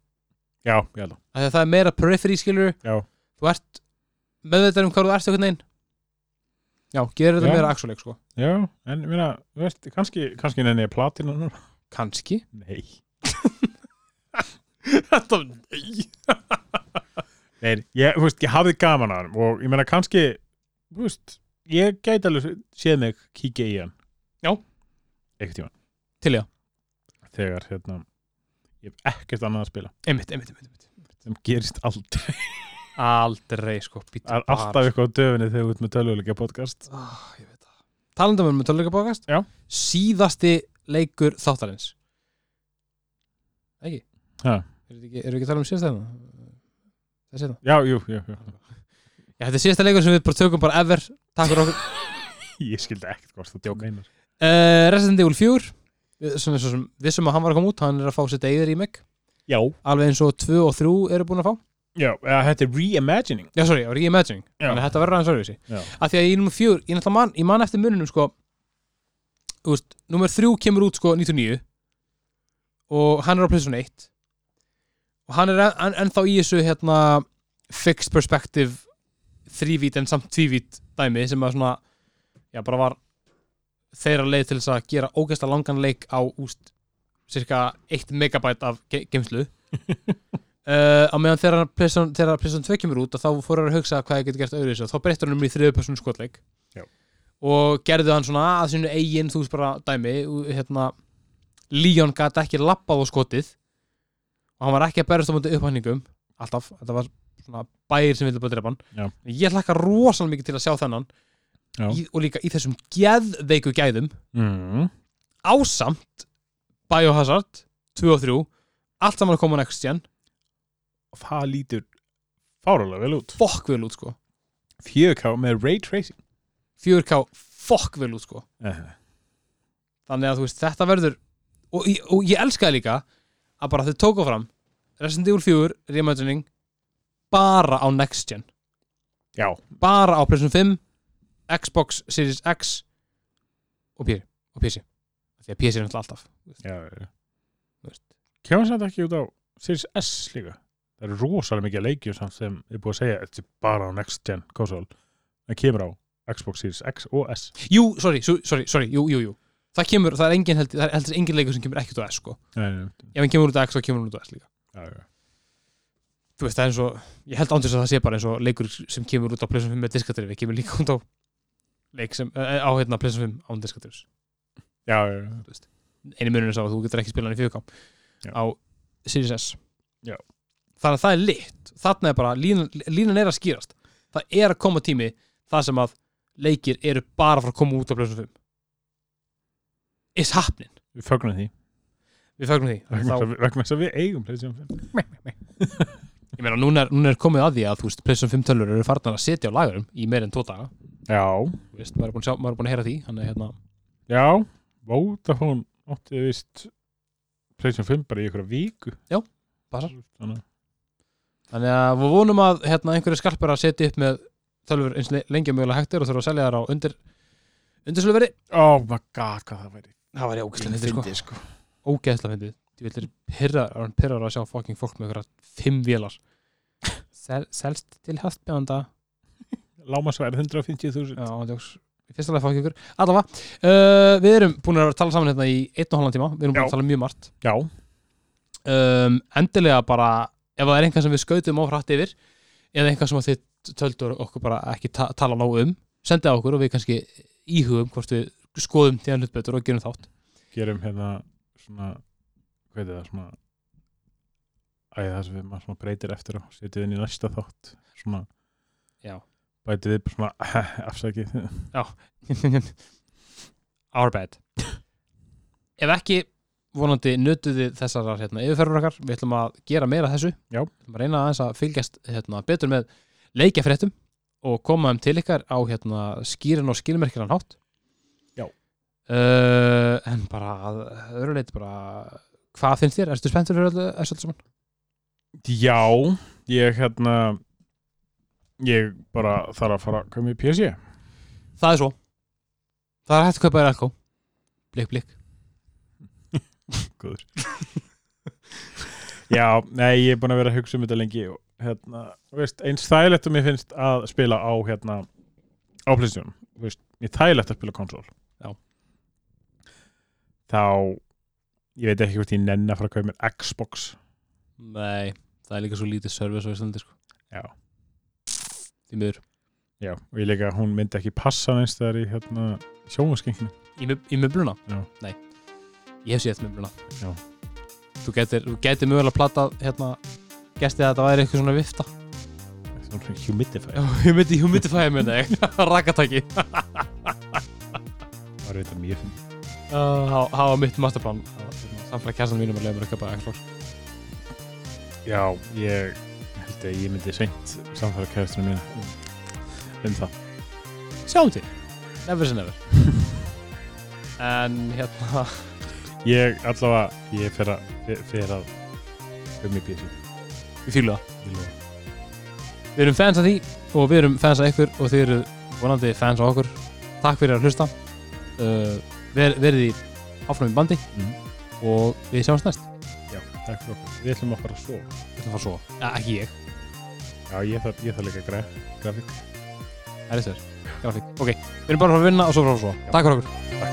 S2: Já, ég held að.
S1: Af því að það er meira periphery skilur
S2: Já.
S1: þú ert meðveitar um hvað þú ert einhvern veginn já, gerir þetta
S2: Já.
S1: meira axoleik sko
S2: Já, en ég meina, þú veist, kannski, kannski nenni ég platina núna.
S1: kannski
S2: Nei.
S1: þetta, nei
S2: Nei, ég, þú veist, ég hafði gaman að hann og ég meina, kannski, þú veist, ég gæti alveg séð mig kíkja í hann.
S1: Já.
S2: Ekkert tíma.
S1: til já,
S2: Þegar, hérna, ég hef ekkert annað að spila.
S1: einmitt, einmitt, einmitt, einmitt.
S2: Sem gerist aldrei.
S1: aldrei sko býttu
S2: Það er
S1: bara.
S2: alltaf eitthvað á döfinni þegar þú ert með tölvuleika podcast.
S1: ah, ég veit það talandamönnum með töluleika bókast
S2: Já.
S1: síðasti leikur þáttarins ekki
S2: Ha.
S1: erum við ekki, erum við ekki að tala um síðasta hérna það sé það
S2: Já, jú, jú, jú.
S1: já, þetta er síðasta leikur sem við bara tökum bara ever takk fyrir okkur
S2: Ég skildi ekkert hvort þú
S1: Djók.
S2: meinar.
S1: uh, Resident Evil 4 við- sem er svo sem vissum að hann var að koma út hann er að fá sitt eigið remake
S2: Já.
S1: alveg eins og 2 og 3 eru búin að fá
S2: Já, eða þetta er reimagining.
S1: já, sorry, reimagining
S2: Já.
S1: þannig að þetta verður aðeins öðruvísi
S2: Já.
S1: af því að í nummer 4, ég náttúrulega man, ég man eftir mununum sko þú veist, nummer 3 kemur út sko 99 og hann er á Playstation 1 og hann er en, en, ennþá í þessu hérna fixed perspective þrívít en samt tvívít dæmi sem að svona, já bara var þeirra leið til þess að gera ógæsta langan leik á úst cirka 1 megabæt af ge geimslu uh, á meðan þegar Playstation, þegar Playstation 2 kemur út að þá fóru að hugsa hvað ég geti gert öðru þessu þá breyttur hann um í þriðu personu skotleik
S2: Já.
S1: og gerðu hann svona að sínu eigin þú veist bara dæmi og, hérna, Leon gat ekki lappað á skotið og hann var ekki að berast á múti upphænningum alltaf, þetta var svona bæir sem vildi bara drepa
S2: Já.
S1: hann ég hlakka rosalega mikið til að sjá þennan
S2: Já.
S1: í, og líka í þessum geðveiku gæðum
S2: Mm.
S1: ásamt Biohazard 2 og 3 allt saman að koma next gen
S2: Það lítur fáralega vel út.
S1: fokk vel út sko
S2: 4K með ray tracing.
S1: 4K fokk vel út sko
S2: Uh,
S1: þannig að þú veist þetta verður og, ég- og ég elskaði líka að bara þau tóka fram Resident Evil 4 reimagining bara á next gen
S2: já.
S1: bara á PlayStation 5 Xbox Series X og P- og PC því að PC er náttúrulega alltaf
S2: já, já.
S1: Þú veist.
S2: Kemur samt ekki út á Series S líka. Það eru rosalega mikið leikjur samt sem er búið að segja þetta er bara á next gen console. Það kemur á Xbox Series X og S.
S1: jú, sorry, su- sorry, sorry, jú, jú, jú það kemur, það er engin heldur, það er heldur engin leikur sem kemur ekkert á S sko,
S2: Nei, nei, nei.
S1: ef hann kemur út á X þá kemur hann út á S líka
S2: Já, já.
S1: þú veist, það er eins og, ég held ándur þess að það sé bara eins og leikur sem kemur út á PlayStation 5 með diskatrifi kemur líka út á leik sem, eh, á hérna PlayStation 5 án diskatrifis
S2: Já, já, já.
S1: einu munurinn sá að þú getur ekki spilað hann í 4K
S2: Já.
S1: á Series S
S2: Já.
S1: þannig að það er lit þarna er bara, línan, línan er að skýrast það er að koma tími það sem að leikir eru bara frá að koma út á PlayStation 5 is happening
S2: Við fögnum því.
S1: við fagnum því Þannig
S2: Vegna
S1: að
S2: þess að- vegna þess að við eigum PlayStation 5.
S1: þá- ég meina núna er, núna er komið að því að þú veist PlayStation 5 tölur eru farnar að setja á lagarum í meir en tvo daga
S2: Já.
S1: Þú veist, maður er búin að, sjá, maður er búin að heyra því hann er hérna
S2: Já, Vodafone átti vist Playstation 5 bara í ykkur viku
S1: Já, passar.
S2: Þannig,
S1: Þannig að við vonum að hérna, einhverju skarpar að setja upp með tölfur eins le- lengi og mögulega hægtir og þurfa að selja þær á undir undirsöluveri.
S2: Oh my god, hvað það væri
S1: Það væri ógeðslega fyndið sko.
S2: fyndið, sko.
S1: Ógeðslega fyndið. Ég vil þeir pirrar, pirrar að sjá fucking fólk með einhverja fimm vélar. Sel, selst til hastbjönda.
S2: Lámasverð 150.000
S1: Já, djóks. Í fyrsta lega fá ekki ykkur. Allavega, uh, við erum búin að tala saman hérna í einn og halvan tíma. Við erum búin
S2: Já.
S1: að tala um mjög margt.
S2: Já,
S1: um, endilega bara ef það er einhvað sem við skautum of hratt yfir eða einhvað sem að þið töldur okkur bara ekki ta tala nóg um sendið á okkur og við kannski íhugum hvort við skoðum því að hlut betur og gerum þátt
S2: gerum hérna svona hvað er það svona Æ, það sem við maður svona breytir eftir á setjum við inn í næsta þátt svona
S1: Já.
S2: bætið við bara svona afsakið
S1: Our bad Ef ekki, vonandi nötuði þessar hérna, yfirferður okkar Við ætlum að gera meira af þessu
S2: Já.
S1: Við ætlum að reyna aðeins að fylgjast hérna, betur með leikjafréttum og koma um til ykkar á hérna, skýrin og skilmerkinan hátt
S2: Já.
S1: uh, En bara að öðru leiti bara Hvað finnst þér? Erstu spenntur fyrir öllu þessu öllu saman?
S2: Já, ég hérna ég bara þarf að fara að koma í PSG
S1: Það er svo Það er hægt að kaupa þér alko Blik, blik
S2: Góður Já, nei, ég er búin að vera að hugsa um þetta lengi og hérna, þú veist, eins þægilegt og mér finnst að spila á hérna, á Playstation, þú veist, mér er þægilegt að spila konsól
S1: Já.
S2: Þá ég veit ekki hvort ég nenni að fara að kaupa mér Xbox
S1: Nei, það er líka svo lítið service á Íslandi sko.
S2: Já.
S1: Því miður
S2: Já, og ég leika að hún myndi ekki passa neins þegar í hérna, sjónvarskenginni
S1: Í, mub- í möbluna?
S2: Já.
S1: Nei, ég hef séð möbluna
S2: Já.
S1: Þú getur, þú getur mögulega platað hérna gestið að þetta væri eitthvað svona vifta
S2: svona humidify,
S1: Já, ég myndi humidifæja mér neg Rakataki
S2: það var þetta mjög finn
S1: Það var mitt masterplan Samfæla kerstan mínum að leiða mér að köpa Xbox
S2: Já, ég held að ég myndi seint samfæra kæðastunum mína um það
S1: Sjáum til Never say never En hérna
S2: Ég allavega, ég fer að fer- fer að um í bísu
S1: Við fýlum það Við erum fans af því og við erum fans af ykkur og þið eru vonandi fans af okkur. Takk fyrir að hlusta. Uh, ver, verið í áfram í bandi
S2: Mhm.
S1: og við sjáumst næst.
S2: Já, takk fyrir okkur Við ætlum að fara að svo
S1: Þetta var svo. Ja, ekki ég.
S2: Já, ég þarf, ég þarf líka graf- grafík
S1: Það er þess. Grafík. Ok. Við erum bara að fara að vinna og svo frá svo.
S2: Já.
S1: Takk fyrir okkur.
S2: Takk